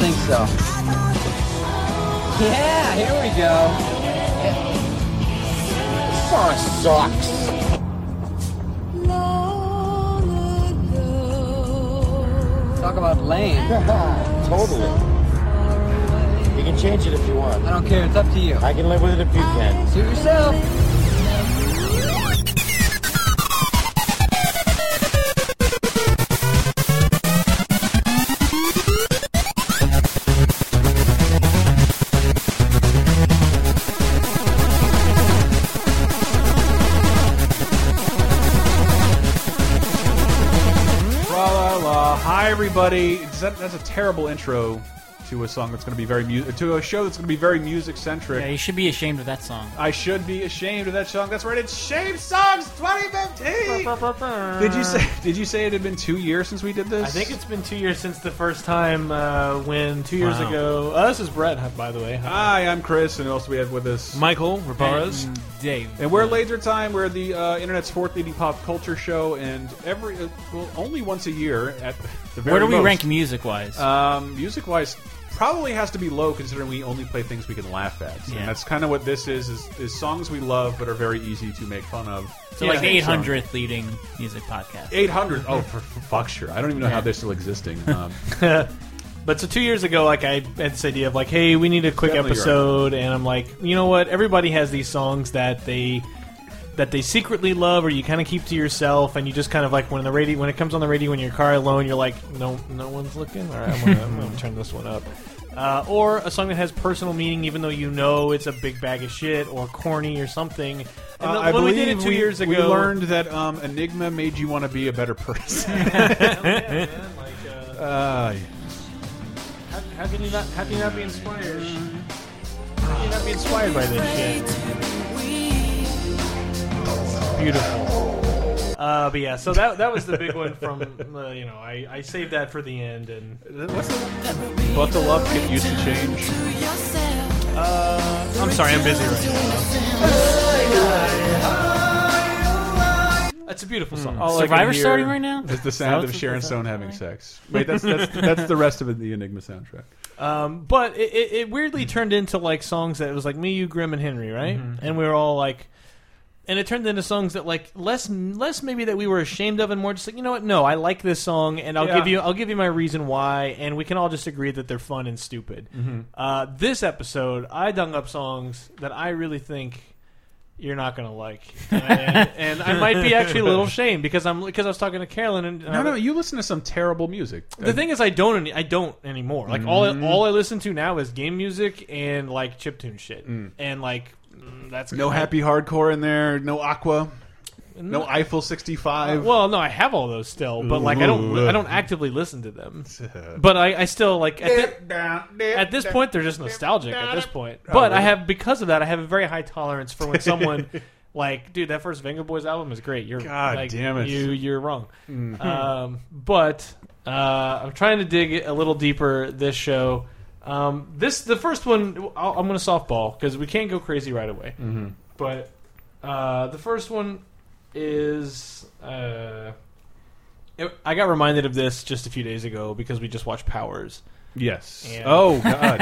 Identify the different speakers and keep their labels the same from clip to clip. Speaker 1: think so. Yeah, here we go. Song sucks. Talk about lame.
Speaker 2: totally. You can change it if you want.
Speaker 1: I don't care. It's up to you.
Speaker 2: I can live with it if you can.
Speaker 1: Suit yourself.
Speaker 3: La, la, la. Hi, everybody. It's- that- That's a terrible intro to a song that's going to be very mu to a show that's going to be very music centric.
Speaker 4: Yeah, you should be ashamed of that song.
Speaker 3: I should be ashamed of that song. That's right. It's Shame Songs 2015. Did you say? Did you say it had been two years since we did this?
Speaker 5: I think it's been two years since the first time uh, when two years
Speaker 4: Wow.
Speaker 5: ago. Oh, this is Brett, by the way.
Speaker 3: Hi, I'm Chris, and also we have with us
Speaker 5: Michael Rabaras.
Speaker 4: And Dave.
Speaker 3: And we're Laser Time. We're the uh, internet's fourth leading pop culture show, and every uh, well, only once a year at the very
Speaker 4: Where do we
Speaker 3: most.
Speaker 4: rank music
Speaker 5: Uh,
Speaker 4: wise?
Speaker 3: Um, music wise, probably has to be low considering we only play things we can laugh at.
Speaker 4: Yeah.
Speaker 3: And that's kind of what this is, is: is songs we love but are very easy to make fun of.
Speaker 4: so like the 800th leading music podcast.
Speaker 3: Eight hundred. Oh, for, for fuck's sure! I don't even know how
Speaker 4: Yeah.
Speaker 3: they're still existing. Um,
Speaker 5: But so two years ago, like I had this idea of like, hey, we need a quick
Speaker 3: Definitely
Speaker 5: episode, and I'm like, you know what? Everybody has these songs that they that they secretly love, or you kind of keep to yourself, and you just kind of like when the radio when it comes on the radio in your car alone, you're like, no, no one's looking. All right, I'm gonna, I'm gonna turn this one up. Uh, or a song that has personal meaning, even though you know it's a big bag of shit or corny or something. And
Speaker 3: uh,
Speaker 5: the-
Speaker 3: I
Speaker 5: when we
Speaker 3: believe
Speaker 5: did it two
Speaker 3: we-
Speaker 5: years ago,
Speaker 3: we learned that um, Enigma made you want to be a better person.
Speaker 5: like, uh,
Speaker 3: uh,
Speaker 5: how, how can you not? How can you not be inspired? How can you not be inspired by this shit? Beautiful. Uh, but yeah, so that that was the big one from uh, you know I, I saved that for the end and
Speaker 3: what's the buckle up, get used to change.
Speaker 5: uh, I'm sorry I'm busy right now. That's a beautiful song. All I can
Speaker 4: Survivor
Speaker 5: hear-
Speaker 4: starting right now?
Speaker 3: It's the sound of
Speaker 4: what's-
Speaker 3: Sharon
Speaker 4: is that-
Speaker 3: Stone having sex. Wait, that's that's, that's the rest of the Enigma soundtrack.
Speaker 5: Um, but it, it, it
Speaker 3: Mm-hmm.
Speaker 5: weirdly turned into like songs that it was like me, you, Grim, and Henry, right? And we were all like, and it turned into songs that like less less maybe that we were ashamed of, and more just like you know what? No, I like this song, and I'll
Speaker 3: Yeah.
Speaker 5: give you I'll give you my reason why, and we can all just agree that they're fun and stupid.
Speaker 3: Mm-hmm.
Speaker 5: Uh, this episode, I dung up songs that I really think. You're not gonna like, and, and I might be actually a little ashamed because I'm because I was talking to Carolyn and
Speaker 3: No, no, you listen to some terrible music.
Speaker 5: the thing is, I don't. Any, I don't anymore. Like all, I, all I listen to now is game music and like chiptune shit, and like mm, that's
Speaker 3: no happy hardcore in there. No Aqua. No Eiffel sixty five.
Speaker 5: Well, no, I have all those still, but like I don't,
Speaker 3: Ooh.
Speaker 5: I don't actively listen to them. But I, I still like at, thi- at this point they're just nostalgic. At this point,
Speaker 3: Oh,
Speaker 5: but I have because of that I have a very high tolerance for when someone like, dude, that first Venga Boys album is great. You're
Speaker 3: God
Speaker 5: like,
Speaker 3: damn it. Hmm.
Speaker 5: you you're wrong. Um, but uh, I'm trying to dig a little deeper this show. Um, this the first one. I'll, I'm going to softball because we can't go crazy right away.
Speaker 3: Mm-hmm.
Speaker 5: But uh, the first one is. Uh, it, I got reminded of this just a few days ago because we just watched Powers.
Speaker 3: yes.
Speaker 5: Yeah.
Speaker 3: Oh God.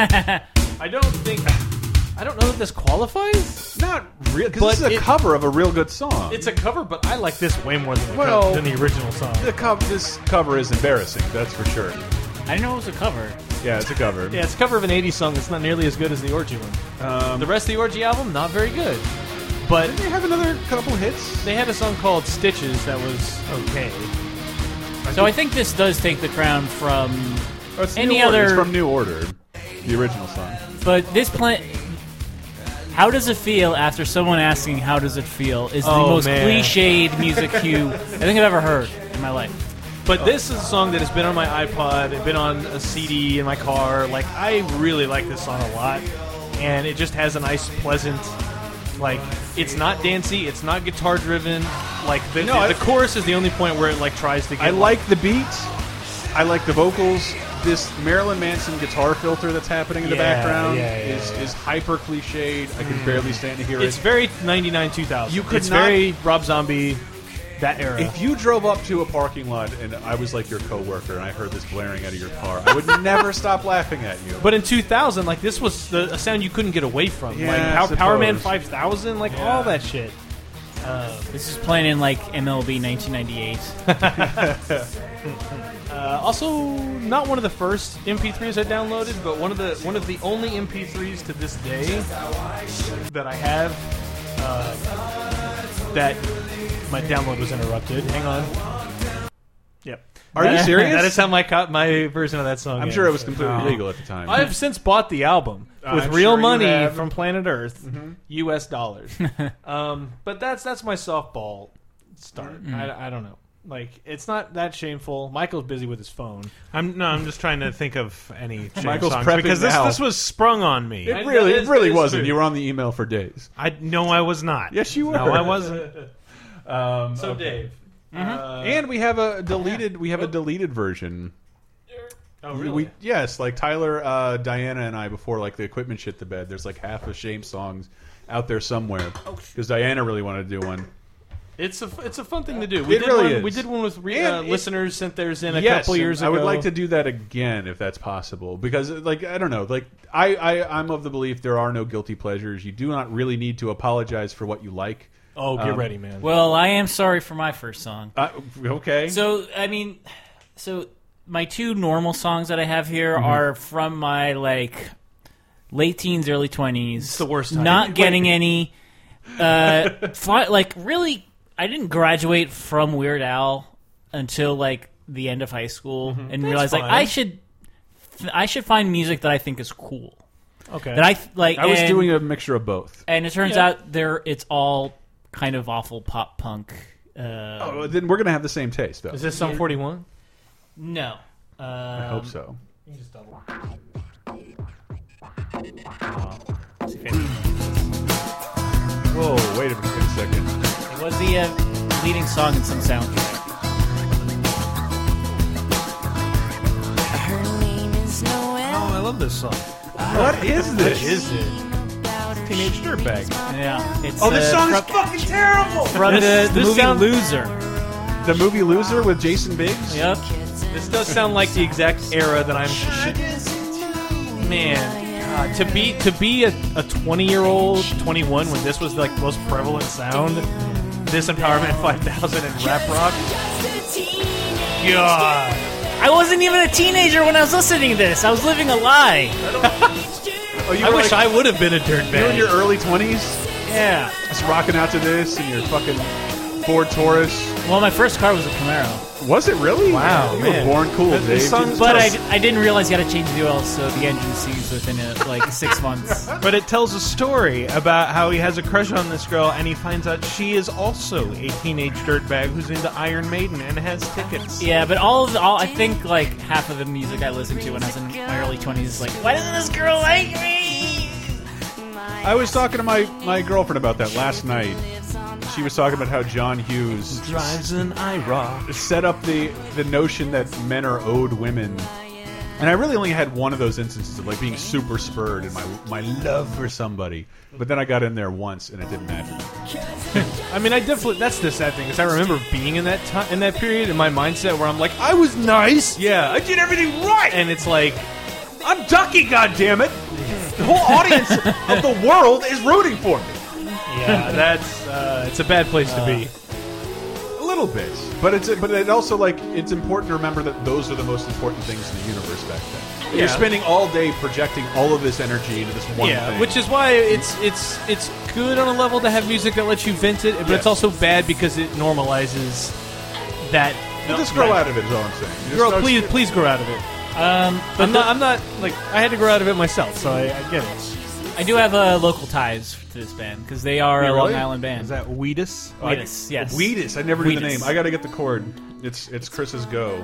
Speaker 5: I don't think. I don't know that this qualifies.
Speaker 3: Not real. Because
Speaker 5: But
Speaker 3: this is a
Speaker 5: it-
Speaker 3: cover of a real good song.
Speaker 5: It's a cover, but I like this way more than the, co-
Speaker 3: Well-
Speaker 5: than the original song.
Speaker 3: the cover. This cover is embarrassing. That's for sure.
Speaker 4: I didn't know it was a cover.
Speaker 3: Yeah, it's a cover.
Speaker 5: Yeah, it's a cover of an 80s song that's not nearly as good as the Orgy one.
Speaker 3: Um,
Speaker 5: The rest of the Orgy album, not very good. But
Speaker 3: they have another couple hits.
Speaker 5: they had a song called Stitches that was okay.
Speaker 4: So I think this does take the crown from.
Speaker 3: Oh, it's
Speaker 4: Any
Speaker 3: New Order. It's
Speaker 4: other-
Speaker 3: from New Order, the original song.
Speaker 4: But this plant. How does it feel after someone asking how does it feel is the
Speaker 5: Oh,
Speaker 4: most
Speaker 5: man.
Speaker 4: cliched music cue I think I've ever heard in my life.
Speaker 5: But this is a song that has been on my iPod and been on a CD in my car. Like, I really like this song a lot. And it just has a nice, pleasant, like, it's not dancey, it's not guitar driven. Like, the,
Speaker 3: No, I-
Speaker 5: the chorus is the only point where it, like, tries to get.
Speaker 3: I like the beat. I like the vocals. This Marilyn Manson guitar filter that's happening in the
Speaker 5: Yeah,
Speaker 3: background
Speaker 5: yeah, yeah,
Speaker 3: is
Speaker 5: yeah. Mm.
Speaker 3: is hyper cliched. I can barely stand to hear
Speaker 5: It's
Speaker 3: it.
Speaker 5: very 99 2000.
Speaker 3: You could
Speaker 5: it's
Speaker 3: not-
Speaker 5: very Rob Zombie. That era.
Speaker 3: If you drove up to a parking lot and I was like your coworker and I heard this blaring out of your car, I would never stop laughing at you.
Speaker 5: But in 2000, like this was the, a sound you couldn't get away from,
Speaker 3: Yeah, I
Speaker 5: like Pow- Power Man
Speaker 3: suppose.
Speaker 5: 5000, like all that shit.
Speaker 4: This is playing in like MLB 1998.
Speaker 5: Uh, also, not one of the first MP3s I downloaded, but one of the one of the only MP3s to this day that I have uh, that my download was interrupted. Hang on. Yep.
Speaker 3: Are you
Speaker 5: That-
Speaker 3: serious?
Speaker 5: That is how my co- my version of that song.
Speaker 3: I'm
Speaker 5: ends.
Speaker 3: sure it was completely legal at the time.
Speaker 5: I have since bought the album with
Speaker 3: I'm
Speaker 5: real
Speaker 3: sure you
Speaker 5: money
Speaker 3: have.
Speaker 5: from Planet Earth, U.S. dollars. um, but that's that's my softball start. I, I don't know. Like it's not that shameful. Michael's busy with his phone.
Speaker 6: I'm no, I'm just trying to think of any Shane
Speaker 3: Michael's
Speaker 6: songs
Speaker 3: prepping
Speaker 6: because this
Speaker 3: now.
Speaker 6: this was sprung on me.
Speaker 5: I-
Speaker 3: it really,
Speaker 5: that
Speaker 3: it
Speaker 5: is-
Speaker 3: really
Speaker 5: that is
Speaker 3: wasn't.
Speaker 5: true.
Speaker 3: You were on the email for days.
Speaker 6: I no, I was not.
Speaker 3: Yes, you were.
Speaker 6: No, I wasn't.
Speaker 3: Um,
Speaker 5: So
Speaker 3: okay.
Speaker 5: Dave, uh,
Speaker 3: and we have a deleted. We have a deleted version.
Speaker 5: oh,
Speaker 3: We-
Speaker 5: really?
Speaker 3: We, yes, like Tyler, uh, Diana, and I before like the equipment shit the bed. There's like half of Shame songs out there somewhere because Diana really wanted to do one.
Speaker 5: it's a it's a fun thing to do. We
Speaker 3: It
Speaker 5: did
Speaker 3: really
Speaker 5: one,
Speaker 3: is.
Speaker 5: We did one with re-
Speaker 3: And
Speaker 5: uh,
Speaker 3: it-
Speaker 5: listeners sent theirs in a
Speaker 3: yes,
Speaker 5: couple years
Speaker 3: and
Speaker 5: ago.
Speaker 3: I would like to do that again if that's possible because like I don't know, like I, I I'm of the belief there are no guilty pleasures. You do not really need to apologize for what you like.
Speaker 5: Oh, get
Speaker 3: Um,
Speaker 5: ready, man.
Speaker 4: Well, I am sorry for my first song.
Speaker 3: Uh, okay.
Speaker 4: So, I mean, so my two normal songs that I have here
Speaker 5: Mm-hmm.
Speaker 4: are from my like late teens, early twenties. It's
Speaker 5: the worst time.
Speaker 4: Not getting any. Uh, fi- like really, I didn't graduate from Weird Al until like the end of high school, and realized like
Speaker 5: Mm-hmm. fine.
Speaker 4: I should, I should find music that I think is cool.
Speaker 5: okay.
Speaker 4: That I th- like.
Speaker 3: I was
Speaker 4: and-
Speaker 3: doing a mixture of both.
Speaker 4: and it turns
Speaker 5: Yeah.
Speaker 4: out there it's all kind of awful pop punk. Uh,
Speaker 3: Oh, then we're gonna have the same taste though.
Speaker 5: is this some forty one?
Speaker 4: No. Um,
Speaker 3: I hope so. Um, Whoa! Wait a minute, wait a second.
Speaker 4: It was the uh, leading song in some soundtrack.
Speaker 7: Her name is Noelle.
Speaker 6: I love this song.
Speaker 3: What is this?
Speaker 7: Teenage dirtbag.
Speaker 4: Yeah. It's,
Speaker 6: Oh, this
Speaker 4: uh,
Speaker 6: song is fucking terrible.
Speaker 4: from
Speaker 5: This-
Speaker 4: the, the
Speaker 5: this
Speaker 4: movie
Speaker 5: sound-
Speaker 4: Loser.
Speaker 3: The movie Loser with Jason Biggs?
Speaker 4: Yep.
Speaker 5: This does sound like the exact era that I'm. Man, uh, to be to be a, a 20 year old, 21 when this was like the most prevalent sound, this and Power Man 5000 and rap rock. God,
Speaker 4: I wasn't even a teenager when I was listening to this. I was living a lie.
Speaker 3: Oh, you
Speaker 5: I
Speaker 3: were
Speaker 5: wish
Speaker 3: like,
Speaker 5: I would have been a
Speaker 3: you were in
Speaker 5: dirtbag.
Speaker 3: your early 20s,
Speaker 4: Yeah.
Speaker 3: just rocking out to this and your fucking Ford Taurus.
Speaker 4: Well, my first car was a Camaro,
Speaker 3: Was it really?
Speaker 5: Wow,
Speaker 3: you
Speaker 5: man.
Speaker 3: were born cool,
Speaker 5: This- this
Speaker 3: Dave.
Speaker 5: song's-
Speaker 4: but I, I didn't realize you got to change the oil, so the engine seized within uh like six months.
Speaker 6: But it tells a story about how he has a crush on this girl, and he finds out she is also a teenage dirtbag who's into Iron Maiden and has tickets.
Speaker 4: Yeah, but all of the, all I think like half of the music I listened to when I was in my early twenties is like, why doesn't this girl like me?
Speaker 3: I was talking to my, my girlfriend about that last night. She was talking about how John Hughes
Speaker 6: Drives an IROC.
Speaker 3: set up the, the notion that men are owed women. And I really only had one of those instances of like being super spurred in my my love for somebody. But then I got in there once and it didn't matter.
Speaker 5: I mean, I definitely that's the sad thing because I remember being in that time in that period in my mindset where I'm like,
Speaker 6: I was nice.
Speaker 5: yeah, I did everything right, and it's like,
Speaker 6: I'm Ducky, goddammit.
Speaker 3: The whole audience of the world is rooting for me.
Speaker 5: yeah, that's uh, it's a bad place to be.
Speaker 3: A
Speaker 4: Uh,
Speaker 3: little bit, but it's but it also like it's important to remember that those are the most important things in the universe back then. You're
Speaker 5: Yeah.
Speaker 3: spending all day projecting all of this energy into this one
Speaker 5: yeah,
Speaker 3: thing.
Speaker 5: which is why it's it's it's good on a level to have music that lets you vent it, but
Speaker 3: Yes.
Speaker 5: it's also bad because it normalizes that.
Speaker 3: Well, just grow out of it is all I'm saying. You just
Speaker 5: Girl,
Speaker 3: start-
Speaker 5: please, please grow out of it.
Speaker 4: Um,
Speaker 5: But I'm, not, I'm not like I had to grow out of it myself, so I, I get it.
Speaker 4: I do have uh, local ties to this band because they are a
Speaker 3: really?
Speaker 4: Long Island band.
Speaker 6: Is that Weedus?
Speaker 3: I-
Speaker 4: Wheatus, yes.
Speaker 3: Wheatus. I never knew the
Speaker 4: Wheatus.
Speaker 3: name. I got to get the chord. It's it's Chris's go.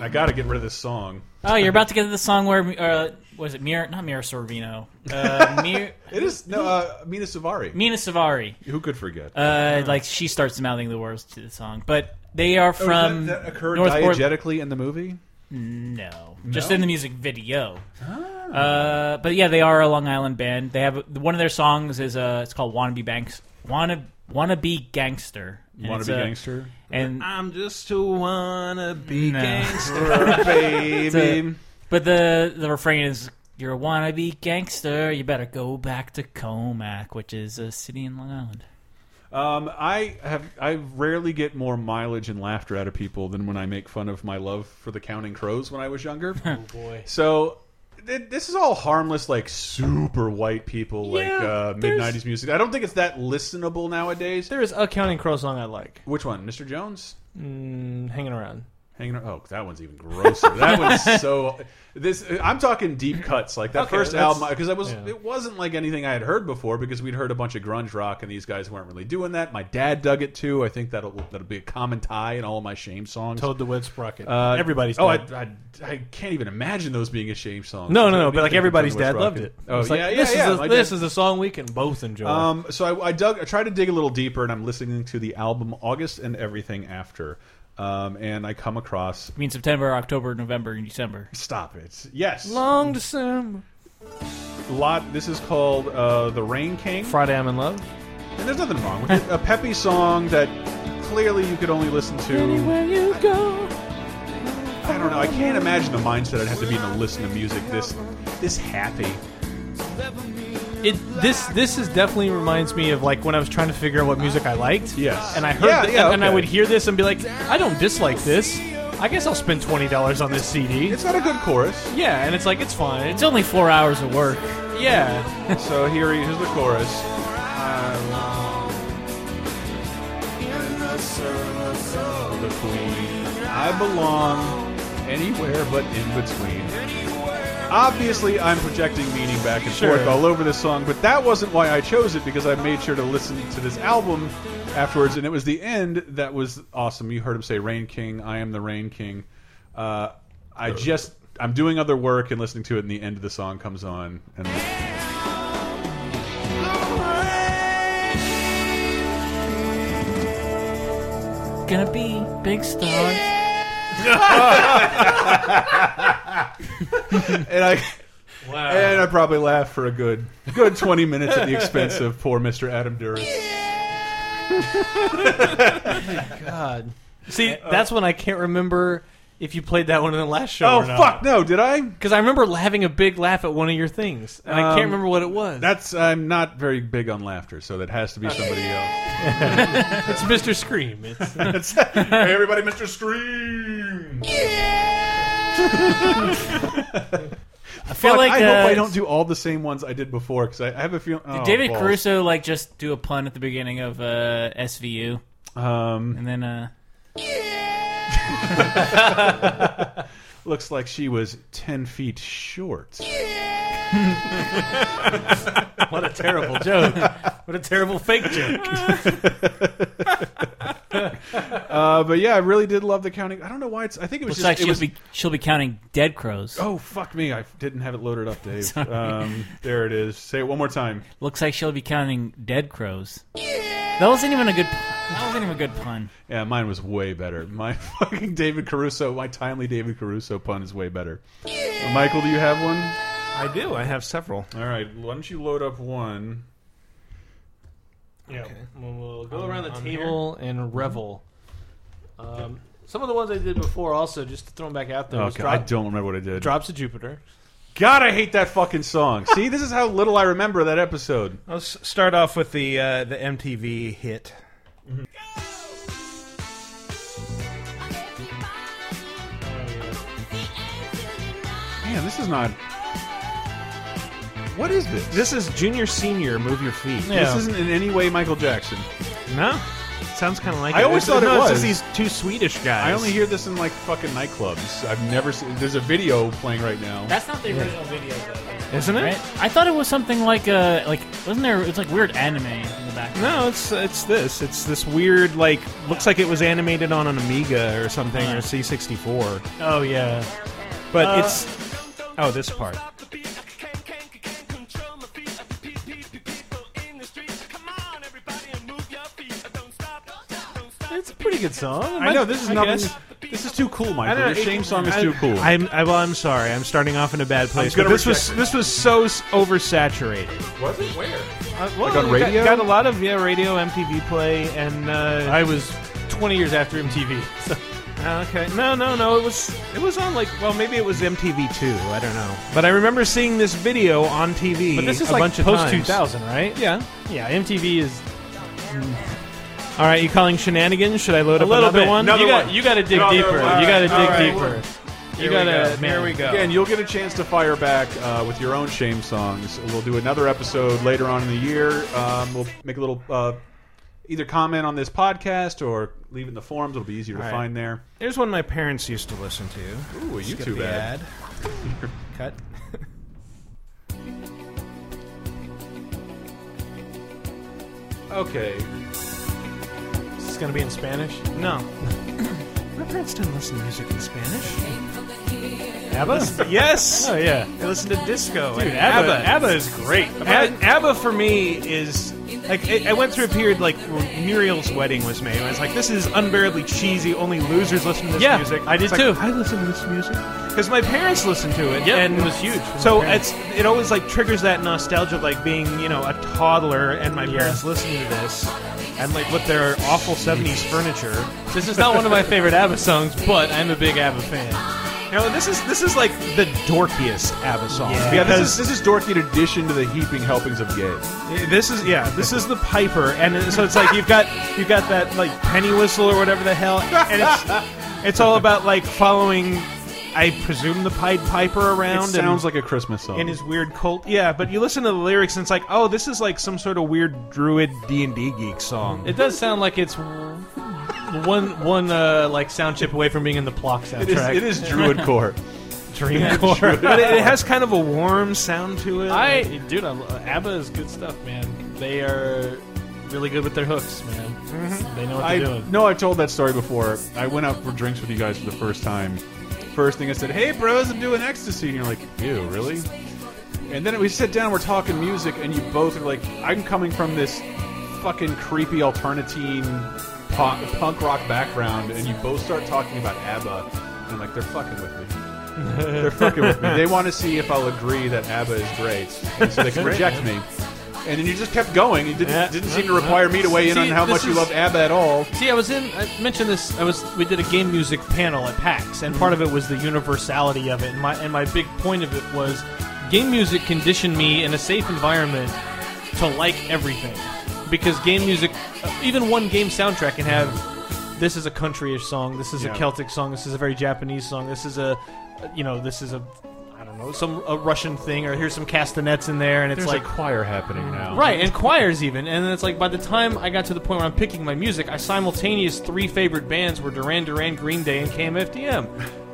Speaker 3: I got to get rid of this song.
Speaker 4: oh, you're about to get to the song where uh, was it Mira? Not Mira Sorvino. Uh, Mir-
Speaker 3: It is no uh, Mina Savari.
Speaker 4: Mina Savari.
Speaker 3: Who could forget?
Speaker 4: Uh, like she starts mouthing the words to the song, but they are
Speaker 3: Oh,
Speaker 4: from
Speaker 3: that, that occurred
Speaker 4: North Port-
Speaker 3: diegetically in the movie.
Speaker 4: No, just in the music video.
Speaker 3: Ah.
Speaker 4: Uh, but yeah, they are a Long Island band. They have one of their songs is uh, it's called "Wannabe Banks." Wanna wannabe gangster. And
Speaker 3: Wanna
Speaker 4: it's
Speaker 3: be
Speaker 4: a-
Speaker 3: gangster?
Speaker 4: And
Speaker 6: I'm just a wannabe
Speaker 4: No.
Speaker 6: gangster, baby.
Speaker 4: but the the refrain is "You're a wannabe gangster. You better go back to Comac, which is a city in Long Island."
Speaker 3: Um, I have I rarely get more mileage and laughter out of people than when I make fun of my love for the Counting Crows when I was younger.
Speaker 5: Oh boy.
Speaker 3: so th this is all harmless, like super white people, like uh, mid '90s music. I don't think it's that listenable nowadays.
Speaker 5: There is a Counting Crow song I like.
Speaker 3: Which one, Mr. Jones?
Speaker 5: Mm, hanging around.
Speaker 3: Hanging around. Oh, that one's even grosser. that one's so. This I'm talking deep cuts like that
Speaker 5: Okay,
Speaker 3: first
Speaker 5: that's-
Speaker 3: album because I was
Speaker 5: yeah.
Speaker 3: it wasn't like anything I had heard before because we'd heard a bunch of grunge rock and these guys weren't really doing that. My dad dug it too. I think that'll that'll be a common tie in all of my shame songs.
Speaker 5: Toad the Wet Sprocket.
Speaker 3: Uh,
Speaker 5: everybody's
Speaker 3: Oh, I,
Speaker 5: dad.
Speaker 3: I, I can't even imagine those being a shame song.
Speaker 5: no, no, no. But like everybody's dad
Speaker 3: Rocket.
Speaker 5: loved it.
Speaker 3: Oh
Speaker 5: It's like,
Speaker 3: yeah, yeah,
Speaker 5: this
Speaker 3: yeah.
Speaker 5: Is
Speaker 3: my
Speaker 5: a, this
Speaker 3: dad-
Speaker 5: is a song we can both enjoy.
Speaker 3: um, so I, I dug. I tried to dig a little deeper, and I'm listening to the album August and everything after, um, and I come across.
Speaker 4: I mean, September, October, November, and December.
Speaker 3: Stop it. Yes,
Speaker 5: Long December.
Speaker 3: lot. This is called uh, "The Rain King,"
Speaker 5: Friday I'm in Love.
Speaker 3: and there's nothing wrong with it. A peppy song that clearly you could only listen to.
Speaker 5: Where you go.
Speaker 3: I don't know. I can't imagine the mindset I'd have to be to listen to music this this happy.
Speaker 5: It this this is definitely reminds me of like when I was trying to figure out what music I liked.
Speaker 3: Yes.
Speaker 5: And I heard
Speaker 3: Yeah,
Speaker 5: thi-
Speaker 3: yeah,
Speaker 5: and, and I
Speaker 3: okay.
Speaker 5: would hear this and be like, I don't dislike this. I guess I'll spend twenty dollars on this CD.
Speaker 3: It's not a good chorus.
Speaker 5: Yeah, and it's like it's fine.
Speaker 4: It's only four hours of work.
Speaker 5: yeah.
Speaker 3: so here he- here's the chorus. Um, the queen. I belong anywhere but in between. Obviously, I'm projecting meaning back and
Speaker 5: Sure.
Speaker 3: forth all over this song, but that wasn't why I chose it because I made sure to listen to this album afterwards, and it was the end that was awesome. You heard him say "Rain King," "I am the Rain King." Uh, I just I'm doing other work and listening to it, and the end of the song comes on, and
Speaker 4: Gonna be big star.
Speaker 3: and I. And I probably laughed for a good, good twenty minutes at the expense of poor Mr. Adam Duras.
Speaker 5: God. See, that's when I can't remember if you played that one in the last show.
Speaker 3: Oh fuck! No, did I?
Speaker 5: Because I remember having a big laugh at one of your things, and I
Speaker 3: Um,
Speaker 5: can't remember what it was.
Speaker 3: That's I'm not very big on laughter, so that has to be somebody else.
Speaker 5: it's Mr. Scream. It's,
Speaker 3: hey, everybody, Mr. Scream!
Speaker 4: I feel like
Speaker 3: I
Speaker 4: uh,
Speaker 3: hope I don't do all the same ones I did before because I, I have a feeling. Oh,
Speaker 4: David
Speaker 3: balls.
Speaker 4: Caruso like just do a pun at the beginning of uh, SVU,
Speaker 3: um,
Speaker 4: and then uh,
Speaker 3: looks like she was ten feet short.
Speaker 5: what a terrible joke! What a terrible fake joke!
Speaker 3: Uh, but yeah, I really did love the counting. I don't know why it's. I think it was
Speaker 4: looks
Speaker 3: just. it
Speaker 4: like she'll
Speaker 3: was,
Speaker 4: be she'll be counting dead crows.
Speaker 3: oh fuck me! I didn't have it loaded up, Dave. um, there it is. Say it one more time.
Speaker 4: Looks like she'll be counting dead crows. That wasn't even a good. That wasn't even a good pun.
Speaker 3: Yeah, mine was way better. My fucking David Caruso, my timely David Caruso pun is way better. Michael, do you have one?
Speaker 6: I do. I have several.
Speaker 3: All right, why don't you load up one?
Speaker 5: Yeah, we'll, we'll go around the table
Speaker 6: Mm-hmm.
Speaker 5: and revel. Um, some of the ones I did before, also just to throw them back out there. was
Speaker 3: Okay, I
Speaker 5: Drop-
Speaker 3: don't remember what I did.
Speaker 5: Drops of Jupiter.
Speaker 3: God, I hate that fucking song. See, this is how little I remember that episode.
Speaker 6: Let's start off with the uh, the MTV hit.
Speaker 3: Man, this is not. What is this?
Speaker 6: This is Junior Senior. Move your feet.
Speaker 5: Yeah.
Speaker 3: This isn't in any way Michael Jackson.
Speaker 6: No, sounds kind of like.
Speaker 3: I
Speaker 6: it.
Speaker 3: always
Speaker 6: It's-
Speaker 3: thought it
Speaker 6: no, it's
Speaker 3: was.
Speaker 6: just these two Swedish guys.
Speaker 3: I only hear this in like fucking nightclubs. I've never seen. There's a video playing right now.
Speaker 4: That's not the original video, though.
Speaker 6: isn't it?
Speaker 4: Right? I thought it was something like uh like wasn't there? It's like weird anime in the background.
Speaker 6: No, it's it's this. It's this weird like looks like it was animated on an Amiga or something or C64.
Speaker 5: Oh yeah.
Speaker 6: But it's oh this part.
Speaker 5: It's a pretty good song.
Speaker 6: I know this is
Speaker 5: I
Speaker 6: nothing.
Speaker 5: guess.
Speaker 3: This is too cool,
Speaker 6: I
Speaker 3: Michael.
Speaker 6: don't know,
Speaker 3: Your
Speaker 6: it-
Speaker 3: shame song is
Speaker 6: I-
Speaker 3: too cool.
Speaker 6: I'm, I, well, I'm sorry. I'm starting off in a bad place.
Speaker 3: gonna
Speaker 6: but this was
Speaker 3: reject
Speaker 6: this was so s- oversaturated.
Speaker 5: Was it where?
Speaker 6: Well,
Speaker 3: on
Speaker 6: we got-
Speaker 3: radio?
Speaker 6: Got, a lot of yeah, radio, MTV play, and uh,
Speaker 5: I was 20 years after MTV. So.
Speaker 6: uh, okay, no, no, no. It was it was on like well, maybe it was MTV two. I don't know, but I remember seeing this video on TV.
Speaker 5: But this is
Speaker 6: a
Speaker 5: like
Speaker 6: bunch of
Speaker 5: post
Speaker 6: times.
Speaker 5: 2000, right?
Speaker 6: Yeah.
Speaker 5: Yeah, MTV is Mm.
Speaker 6: All right, you calling shenanigans? Should I load
Speaker 5: a
Speaker 6: up
Speaker 5: little
Speaker 6: another
Speaker 5: bit.
Speaker 6: one?
Speaker 5: you got
Speaker 3: one.
Speaker 5: you got to dig
Speaker 3: Another
Speaker 5: deeper.
Speaker 3: one.
Speaker 5: You got to dig
Speaker 3: All right.
Speaker 5: deeper. You
Speaker 6: Here
Speaker 5: got
Speaker 6: we
Speaker 5: to
Speaker 6: go. Here we go.
Speaker 3: Again, you'll get a chance to fire back uh, with your own shame songs. We'll do another episode later on in the year. Um, we'll make a little uh, either comment on this podcast or leave it in the forums. It'll be easier to
Speaker 6: All right.
Speaker 3: find there.
Speaker 6: Here's one my parents used to listen to.
Speaker 3: Ooh, a
Speaker 6: Skip
Speaker 3: YouTube
Speaker 6: the
Speaker 3: ad.
Speaker 6: ad. Cut.
Speaker 3: Okay,
Speaker 5: Is this going to be in Spanish?
Speaker 6: No. my parents didn't listen to music in Spanish.
Speaker 5: ABBA?
Speaker 6: Yes.
Speaker 5: oh yeah.
Speaker 6: They listen to disco and
Speaker 5: Dude, ABBA,
Speaker 6: ABBA.
Speaker 5: ABBA is great.
Speaker 6: A- ABBA for me is like it, I went through a period like when Muriel's wedding was made. And I was like, this is unbearably cheesy. Only losers listen to this
Speaker 5: Yeah,
Speaker 6: music.
Speaker 5: I did
Speaker 6: It's like,
Speaker 5: too.
Speaker 6: I listen to this music because my parents listened to it.
Speaker 5: Yep,
Speaker 6: and
Speaker 5: it was huge for my
Speaker 6: So
Speaker 5: parents.
Speaker 6: it's it always like triggers that nostalgia of like being you know a toddler and my parents listening to this and like with their awful '70s furniture.
Speaker 5: This is not one of my favorite ABBA songs, but I'm a big ABBA fan.
Speaker 6: No, this is this is like the dorkiest ABBA song.
Speaker 3: yeah, this is
Speaker 6: because
Speaker 3: this is dorky in addition to the heaping helpings of gay.
Speaker 6: This is yeah. This is the Piper, and it- so it's like you've got you've got that like penny whistle or whatever the hell, and it's it's all about like following, I presume the Pied Piper around.
Speaker 3: It sounds like a Christmas song.
Speaker 6: and, in his weird cult. Yeah, but you listen to the lyrics, and it's like, oh, this is like some sort of weird druid D and D geek song.
Speaker 5: It does sound like it's one one uh, like sound chip away from being in the Plock soundtrack.
Speaker 3: it is, it is druid core.
Speaker 5: Dream Core.
Speaker 6: but it, it has kind of a warm sound to it.
Speaker 5: I dude, I, lo- ABBA is good stuff, man. They are really good with their hooks, man. They know what
Speaker 3: I
Speaker 5: they're doing.
Speaker 3: no, I've told that story before. I went out for drinks with you guys for the first time. First thing I said, "Hey, bros, I'm doing ecstasy," and you're like, "Ew, really?" And then we sit down, we're talking music, and you both are like, "I'm coming from this fucking creepy alternatine punk, punk rock background," and you both start talking about ABBA, and I'm like, "They're fucking with me." They're fucking with me. They want to see if I'll agree that ABBA is great, and so they can reject me. And then you just kept going. You didn't,
Speaker 5: Yeah.
Speaker 3: didn't seem to require me to weigh in
Speaker 5: See,
Speaker 3: on how
Speaker 5: this
Speaker 3: much you
Speaker 5: is-
Speaker 3: love ABBA at all.
Speaker 5: See, I was in. I mentioned this. I was. We did a game music panel at PAX, and part of it was the universality of it. And my and my big point of it was, game music conditioned me in a safe environment to like everything, because game music, uh, even one game soundtrack can have. This is a countryish song. This is
Speaker 3: Yeah.
Speaker 5: a Celtic song. This is a very Japanese song. This is a, you know, this is a, I don't know, some a Russian thing. Or here's some castanets in there, and it's like
Speaker 3: choir happening now.
Speaker 5: Right, and choirs even. And then it's like by the time I got to the point where I'm picking my music, I simultaneous three favorite bands were Duran Duran, Green Day, and KMFDM.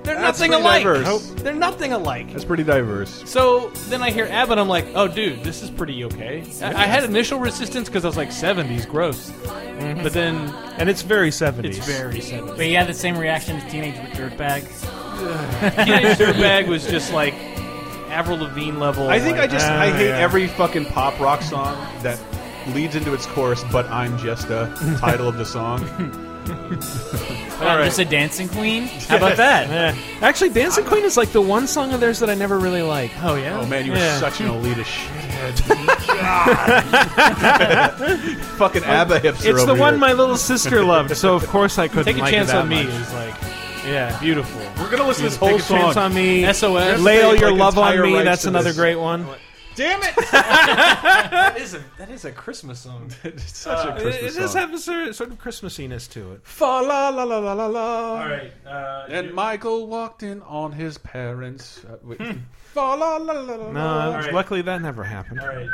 Speaker 5: They're
Speaker 3: That's
Speaker 5: nothing
Speaker 3: pretty
Speaker 5: alike.
Speaker 3: diverse.
Speaker 5: They're nothing alike.
Speaker 3: That's pretty diverse.
Speaker 5: So then I hear ABBA and I'm like, oh, dude, this is pretty okay. I, I had initial resistance because I was like, 70s, gross. But then
Speaker 6: and it's very seventies.
Speaker 5: it's very 70s.
Speaker 4: But you had the same reaction to Teenage Dirtbag.
Speaker 5: Teenage Dirtbag was just like Avril Lavigne level.
Speaker 3: I think I
Speaker 5: like,
Speaker 3: just
Speaker 6: Ah,
Speaker 3: I hate
Speaker 6: yeah.
Speaker 3: every fucking pop rock song that leads into its chorus, but I'm just a title of the song.
Speaker 4: I'm Um, just a dancing queen. How about that?
Speaker 6: Actually, Dancing Queen is like the one song of theirs that I never really like.
Speaker 5: Oh, yeah?
Speaker 3: Oh man, you were such an elitist shithead. fucking ABBA hipster.
Speaker 6: It's the
Speaker 3: over
Speaker 6: one
Speaker 3: here.
Speaker 6: my little sister loved, so of course I couldn't
Speaker 5: Take a
Speaker 6: like
Speaker 5: chance
Speaker 6: it that
Speaker 5: on me.
Speaker 6: much.
Speaker 5: Is like,
Speaker 6: Yeah,
Speaker 5: beautiful.
Speaker 3: We're gonna listen to this
Speaker 6: Take
Speaker 3: whole
Speaker 6: a chance
Speaker 3: song.
Speaker 6: on me.
Speaker 5: SOS.
Speaker 6: Lay all
Speaker 3: Like
Speaker 6: your love on
Speaker 3: entire
Speaker 6: me.
Speaker 3: rights
Speaker 6: That's
Speaker 3: to
Speaker 6: another
Speaker 3: this.
Speaker 6: great one.
Speaker 5: Damn it! that is a that is a Christmas song.
Speaker 3: It's such a
Speaker 6: It,
Speaker 3: Christmas
Speaker 6: it does
Speaker 3: song.
Speaker 6: have a sort sort of Christmasiness to it.
Speaker 3: Fa la la la la la la.
Speaker 5: All right, uh,
Speaker 3: And
Speaker 5: you-
Speaker 3: Michael walked in on his parents. Uh, wait.
Speaker 6: Hmm.
Speaker 3: Fa la la la la.
Speaker 6: No,
Speaker 3: la.
Speaker 5: right.
Speaker 6: luckily that never happened.
Speaker 5: all right.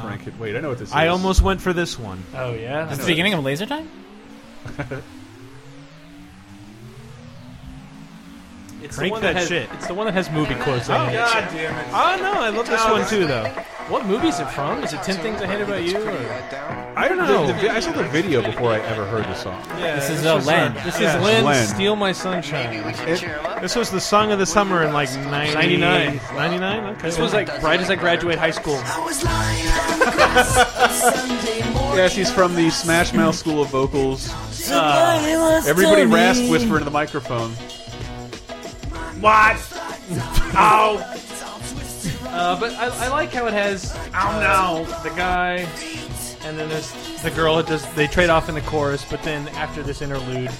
Speaker 3: Crank it. Wait, I know what this is.
Speaker 6: I almost went for this one.
Speaker 5: Oh yeah,
Speaker 4: It's the beginning of Laser Time?
Speaker 5: it's
Speaker 6: Crank
Speaker 5: the one
Speaker 6: that
Speaker 5: has,
Speaker 6: shit.
Speaker 5: It's the one that has movie quotes.
Speaker 6: Oh,
Speaker 5: on it.
Speaker 6: God damn it! Oh no, I love this one too, though.
Speaker 5: What movie is it from? Is it Ten Things I Hate About You? Or?
Speaker 3: I don't know. I saw the video before I ever heard the song.
Speaker 4: This is a Len.
Speaker 5: This
Speaker 6: Yeah.
Speaker 5: is Lynn,
Speaker 3: Lynn.
Speaker 5: Steal My Sunshine.
Speaker 6: This was the song of the summer in like 90,
Speaker 5: 99.
Speaker 6: 99? Okay.
Speaker 5: This was like right as I graduate high school.
Speaker 3: Yes, he's from the Smash Mouth School of Vocals.
Speaker 7: Uh,
Speaker 3: Everybody rasp whisper into the microphone.
Speaker 6: What? Oh,
Speaker 5: Uh, but I, I like how it has uh,
Speaker 6: oh
Speaker 5: the guy, and then there's the girl. It just they trade off in the chorus, but then after this interlude,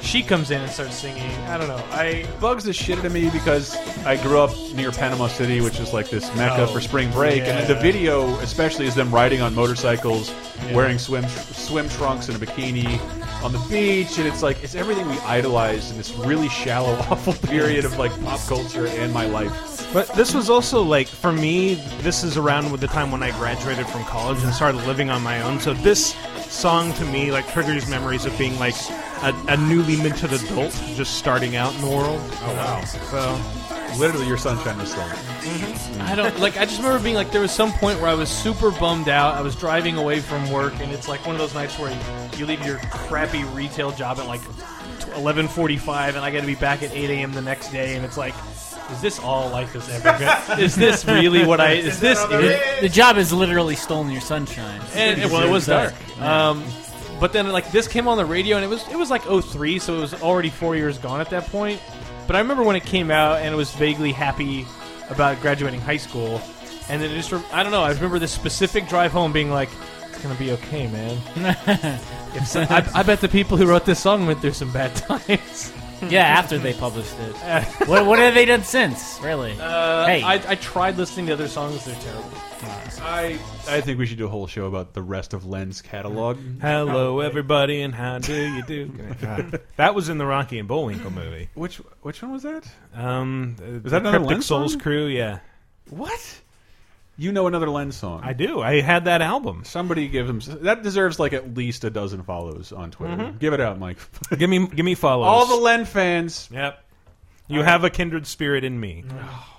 Speaker 5: she comes in and starts singing. I don't know. I
Speaker 3: bugs the shit out of me because I grew up near Panama City, which is like this mecca
Speaker 5: Oh,
Speaker 3: for spring break,
Speaker 5: yeah.
Speaker 3: and the video, especially, is them riding on motorcycles, wearing swim swim trunks and a bikini on the beach, and it's like it's everything we idolized in this really shallow, awful period of like pop culture and my life.
Speaker 6: no! But this was also like for me. This is around with the time when I graduated from college and started living on my own. So this song to me like triggers memories of being like a, a newly minted adult just starting out in the world. Oh wow! So
Speaker 3: Literally, your sunshine was stolen.
Speaker 5: I don't like. I just remember being like, there was some point where I was super bummed out. I was driving away from work, and it's like one of those nights where you, you leave your crappy retail job at like eleven forty-five, and I got to be back at eight a.m. the next day, and it's like, is this all life is ever? Gonna, is this really what I? Is this? it?
Speaker 4: The job is literally stolen your sunshine.
Speaker 5: And, well, it was dark. Um, but then like this came on the radio, and it was it was like 03, so it was already four years gone at that point. But I remember when it came out, and I was vaguely happy about graduating high school. And then it just re- I don't know. I remember this specific drive home being like, "It's gonna be okay, man." If so- I, I bet the people who wrote this song went through some bad times.
Speaker 4: Yeah, after they published it. what, what have they done since? Really?
Speaker 5: Uh,
Speaker 4: Hey.
Speaker 5: I, I tried listening to other songs; they're terrible.
Speaker 3: I I think we should do a whole show about the rest of Len's catalog.
Speaker 6: hello everybody and how do you do? God. Oh. That was in the Rocky and Bullwinkle movie.
Speaker 3: Which which one was that?
Speaker 6: Um, is
Speaker 3: that another
Speaker 6: Cryptic
Speaker 3: Lens
Speaker 6: Souls
Speaker 3: song?
Speaker 6: Crew? Yeah,
Speaker 3: What? You know another Len song?
Speaker 6: I do. I had that album.
Speaker 3: Somebody give him that deserves like at least a dozen follows on Twitter.
Speaker 5: Mm-hmm.
Speaker 3: Give it out, Mike.
Speaker 6: Give me, give me follows.
Speaker 3: All the Len fans.
Speaker 6: Yep. Mm-hmm. You have a kindred spirit in me.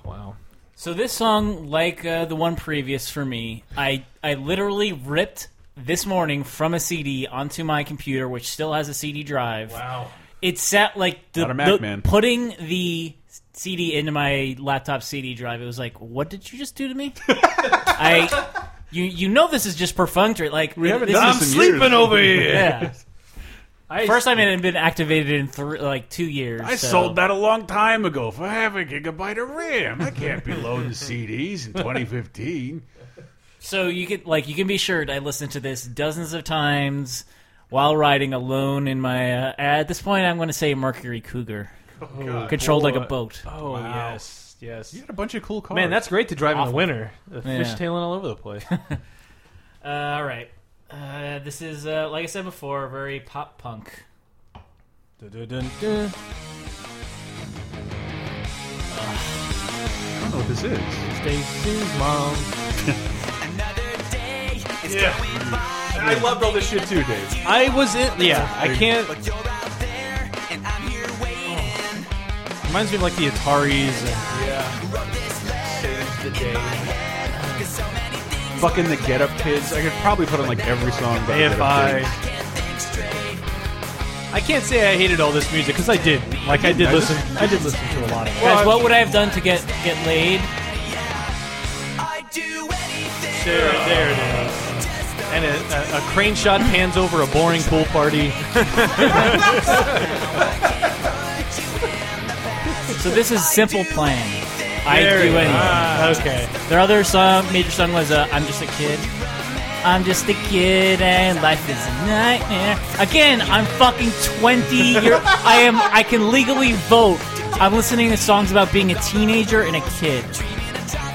Speaker 5: Wow.
Speaker 4: So this song, like uh, the one previous for me, I I literally ripped this morning from a CD onto my computer, which still has a CD drive.
Speaker 5: Wow.
Speaker 4: It sat like the,
Speaker 3: Not a Mac
Speaker 4: the-
Speaker 3: man.
Speaker 4: putting the CD into my laptop CD drive. It was like, what did you just do to me? I you you know this is just perfunctory. Like
Speaker 3: We haven't
Speaker 4: this
Speaker 3: done
Speaker 4: is-
Speaker 3: this in years.
Speaker 6: here.
Speaker 4: Yeah.
Speaker 5: I,
Speaker 4: First time it had been activated in thr like two years.
Speaker 3: I
Speaker 4: so-
Speaker 3: sold that a long time ago for half a gigabyte of RAM. I can't be loading CDs in 2015.
Speaker 4: So you could like you can be assured I listened to this dozens of times while riding alone in my uh, at this point I'm going to say Mercury Cougar controlled like a boat.
Speaker 5: Oh
Speaker 3: Wow.
Speaker 5: yes, yes.
Speaker 3: You had a bunch of cool cars.
Speaker 5: Man, that's great to drive in
Speaker 4: Awful.
Speaker 5: the winter. The
Speaker 4: Yeah.
Speaker 5: fish tailing all over the place.
Speaker 4: Uh, all right. Uh, this is uh, like I said before very pop punk.
Speaker 3: I don't know what this is.
Speaker 5: Stacy's mom.
Speaker 6: Yeah.
Speaker 3: I loved all this shit too, Dave.
Speaker 5: I was in. Yeah, I can't. Reminds me of like the Ataris. And,
Speaker 3: Fucking the Get Up Kids. I could probably put on like every song. About
Speaker 5: if
Speaker 3: Get Up
Speaker 5: I.
Speaker 3: Kids.
Speaker 5: I can't say I hated all this music because I did. Like I did
Speaker 3: I
Speaker 5: listen. I did listen to a lot of it.
Speaker 4: Guys, what would I have done to get get laid?
Speaker 5: There, there it is. And a, a, a crane shot pans over a boring pool party.
Speaker 4: So this is Simple Plan. I
Speaker 5: There
Speaker 4: do
Speaker 5: it is.
Speaker 4: anything.
Speaker 5: Ah, okay.
Speaker 4: Their other song, major song was uh, "I'm Just a Kid." I'm just a kid and life is a nightmare. Again, I'm fucking 20 year I am I can legally vote. I'm listening to songs about being a teenager and a kid.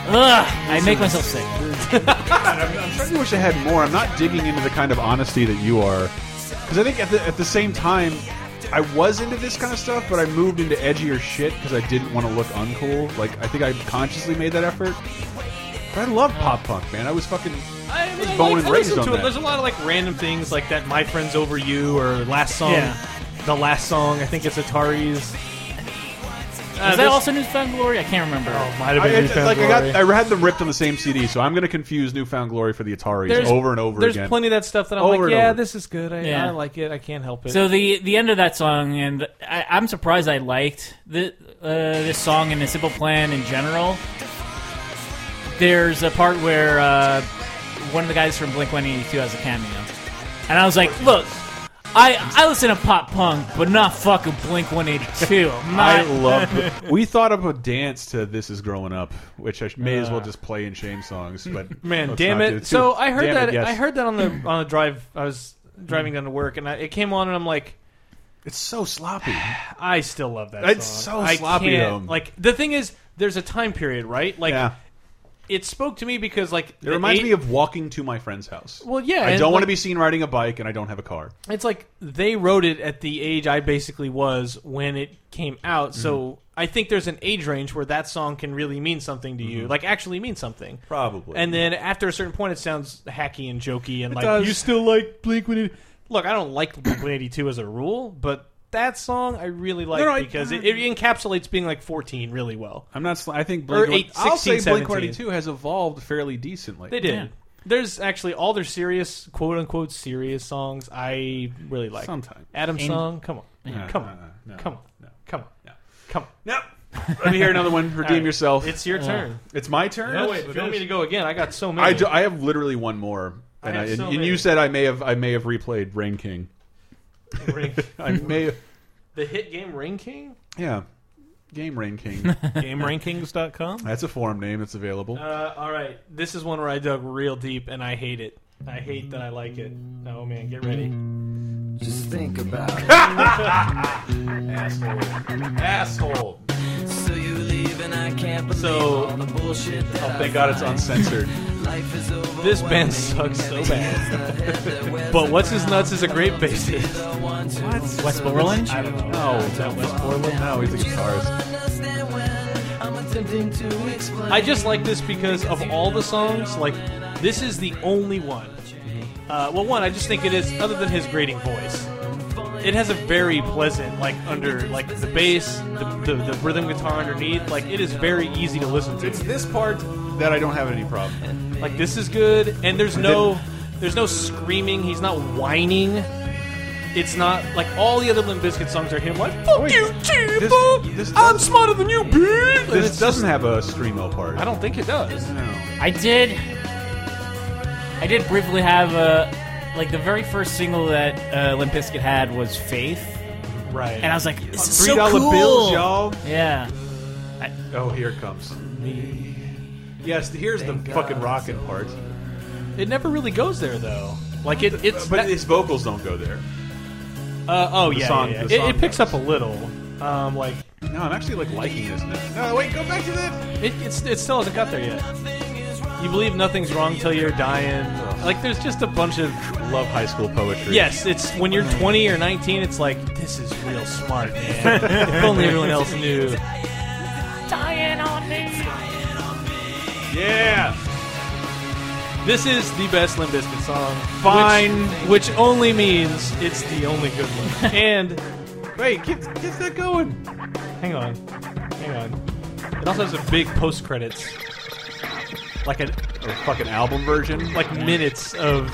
Speaker 4: Ugh, I make myself sick.
Speaker 3: I'm starting to wish I had more. I'm not digging into the kind of honesty that you are, because I think at the at the same time, I was into this kind of stuff, but I moved into edgier shit because I didn't want to look uncool. Like I think I consciously made that effort. But I love pop punk, man. I was fucking.
Speaker 5: I, I,
Speaker 3: Bone
Speaker 5: like,
Speaker 3: and
Speaker 5: I
Speaker 3: raised
Speaker 5: listen
Speaker 3: on
Speaker 5: to
Speaker 3: that.
Speaker 5: it. There's a lot of like random things like that. My friends over you or last song.
Speaker 4: Yeah.
Speaker 5: The last song. I think it's Atari's. Uh,
Speaker 4: Is that
Speaker 5: this-
Speaker 4: also Newfound Glory? I can't remember.
Speaker 5: Might have
Speaker 3: I,
Speaker 5: been
Speaker 3: it's
Speaker 5: Newfound
Speaker 3: like I
Speaker 5: Glory.
Speaker 3: got, I had them ripped on the same CD, so I'm going to confuse Newfound Glory for the Ataris over and over
Speaker 5: there's
Speaker 3: again.
Speaker 5: plenty of that stuff that I'm
Speaker 3: Over
Speaker 5: like,
Speaker 3: and
Speaker 5: yeah,
Speaker 3: over.
Speaker 5: this is good. I,
Speaker 4: Yeah.
Speaker 5: I like it. I can't help it.
Speaker 4: So the the end of that song, and I, I'm surprised I liked the uh, this song and the Simple Plan in general. There's a part where uh, one of the guys from Blink 182 has a cameo, and I was like, "Look, I I listen to pop punk, but not fucking Blink 182. I'm
Speaker 3: I
Speaker 4: not.
Speaker 3: love. we thought of a dance to "This Is Growing Up," which I sh- may as well just play in Shane songs. But
Speaker 5: Uh. Man,
Speaker 3: let's
Speaker 5: damn
Speaker 3: not do
Speaker 5: it! So I heard
Speaker 3: Damn
Speaker 5: that
Speaker 3: It, yes.
Speaker 5: I heard that on the on a drive. I was driving down to work, and I, it came on, and I'm like,
Speaker 3: it's so sloppy.
Speaker 5: I still love that.
Speaker 3: It's
Speaker 5: song.
Speaker 3: so
Speaker 5: I
Speaker 3: sloppy,
Speaker 5: can't-
Speaker 3: though.
Speaker 5: Like the thing is, there's a time period, right? Like
Speaker 3: yeah,
Speaker 5: it spoke to me because like
Speaker 3: it reminds me of walking to my friend's house.
Speaker 5: Well, yeah,
Speaker 3: I
Speaker 5: and,
Speaker 3: don't want to
Speaker 5: like-
Speaker 3: be seen riding a bike, and I don't have a car.
Speaker 5: it's like they wrote it at the age I basically was when it came out.
Speaker 3: Mm-hmm.
Speaker 5: So I think there's an age range where that song can really mean something to you, like actually mean something.
Speaker 3: Mm-hmm. Probably.
Speaker 5: And then after a certain point, it sounds hacky and jokey and like
Speaker 3: does.
Speaker 5: you still like Blink One Eighty. Look, I don't like Blink One Eighty Two as a rule, but that song I really like
Speaker 3: No, no, I-
Speaker 5: because it, it encapsulates being like 14 really well.
Speaker 3: I'm not. Sl I think
Speaker 5: Or
Speaker 3: Blink.
Speaker 5: eight-
Speaker 3: I'll say
Speaker 5: 16,
Speaker 3: Blink 182 has evolved fairly decently.
Speaker 5: They did.
Speaker 4: Yeah.
Speaker 5: There's actually all their serious, quote unquote, serious songs I really like.
Speaker 3: Sometimes.
Speaker 5: Adam
Speaker 4: And-
Speaker 5: song, come on,
Speaker 3: No,
Speaker 5: come
Speaker 3: no,
Speaker 5: on,
Speaker 3: no, no,
Speaker 5: come on,
Speaker 3: no.
Speaker 5: come on,
Speaker 3: No.
Speaker 5: come on.
Speaker 3: No. Let me hear another one. Redeem
Speaker 5: All right.
Speaker 3: yourself.
Speaker 5: It's your turn.
Speaker 3: It's my turn.
Speaker 5: No, Oh, wait, if you want me to go again, I got so many.
Speaker 3: I, do, I have literally one more,
Speaker 5: I
Speaker 3: and, I
Speaker 5: have so
Speaker 3: and you
Speaker 5: many.
Speaker 3: said I may have I may have replayed Rain King.
Speaker 5: Ring-
Speaker 3: I may have,
Speaker 5: the hit game Ring King?
Speaker 3: yeah, game Rain King.
Speaker 6: GameRankings.com.
Speaker 3: That's a forum name that's available.
Speaker 5: Uh, all right, this is one where I dug real deep, and I hate it. I hate that I like it. Oh man, get ready.
Speaker 1: Just think about it.
Speaker 3: Asshole.
Speaker 8: So you leave and I can't believe
Speaker 5: So-
Speaker 8: all the bullshit that
Speaker 3: Oh, Thank God it's uncensored.
Speaker 8: I- life is over.
Speaker 5: This band sucks so bad. But What's His Nuts is a great bassist.
Speaker 4: West Borland? I don't
Speaker 3: No, is that West Borland? No, he's a guitarist.
Speaker 5: I just like this because of all the songs, like this is the only one.
Speaker 3: Mm-hmm.
Speaker 5: Uh, well, one I just think it is, other than his grating voice. It has a very pleasant, like under like the bass, the, the, the rhythm guitar underneath. Like it is very easy to listen to.
Speaker 3: It's this part that I don't have any problem.
Speaker 5: Like this is good, and there's no, there's no screaming. He's not whining. It's not like all the other Limp Bizkit songs are him like "fuck
Speaker 3: Wait,
Speaker 5: you,
Speaker 3: this-
Speaker 5: Chief,
Speaker 3: this
Speaker 5: I'm
Speaker 3: does-
Speaker 5: smarter than you, bitch." And
Speaker 3: This
Speaker 5: it's
Speaker 3: doesn't have a screamo part.
Speaker 5: just- I don't think it does.
Speaker 3: know.
Speaker 4: I did. I did briefly have a like the very first single that uh, Limp Bizkit had was Faith,
Speaker 5: Right.
Speaker 4: and I was like, this is
Speaker 3: Three
Speaker 4: so
Speaker 3: dollar
Speaker 4: cool.
Speaker 3: bills, y'all.
Speaker 4: Yeah.
Speaker 3: Oh, here it comes. Yes, here's the fucking rockin' part.
Speaker 5: It never really goes there though. Like it, it's
Speaker 3: But
Speaker 5: that-
Speaker 3: his vocals don't go there.
Speaker 5: uh, oh
Speaker 3: the
Speaker 5: yeah,
Speaker 3: song-
Speaker 5: yeah, yeah.
Speaker 3: the song
Speaker 5: It, it picks
Speaker 3: goes.
Speaker 5: up a little. Um, like
Speaker 3: No, I'm actually like liking this now. No, wait, go back to that.
Speaker 5: it, it's, it still hasn't got there yet. You believe nothing's wrong till you're dying. Like there's just a bunch of
Speaker 3: Love high school poetry.
Speaker 5: yes. It's when you're 20 or 19, it's like this is real smart, man. if only everyone else knew.
Speaker 3: Yeah.
Speaker 5: This is the best Limp Bizkit song.
Speaker 3: Fine.
Speaker 5: which, which only means it's the only good one. and
Speaker 3: Wait, get, get that going.
Speaker 5: Hang on. Hang on. It also has a big post credits. Like a
Speaker 3: Or fucking album version.
Speaker 5: like minutes of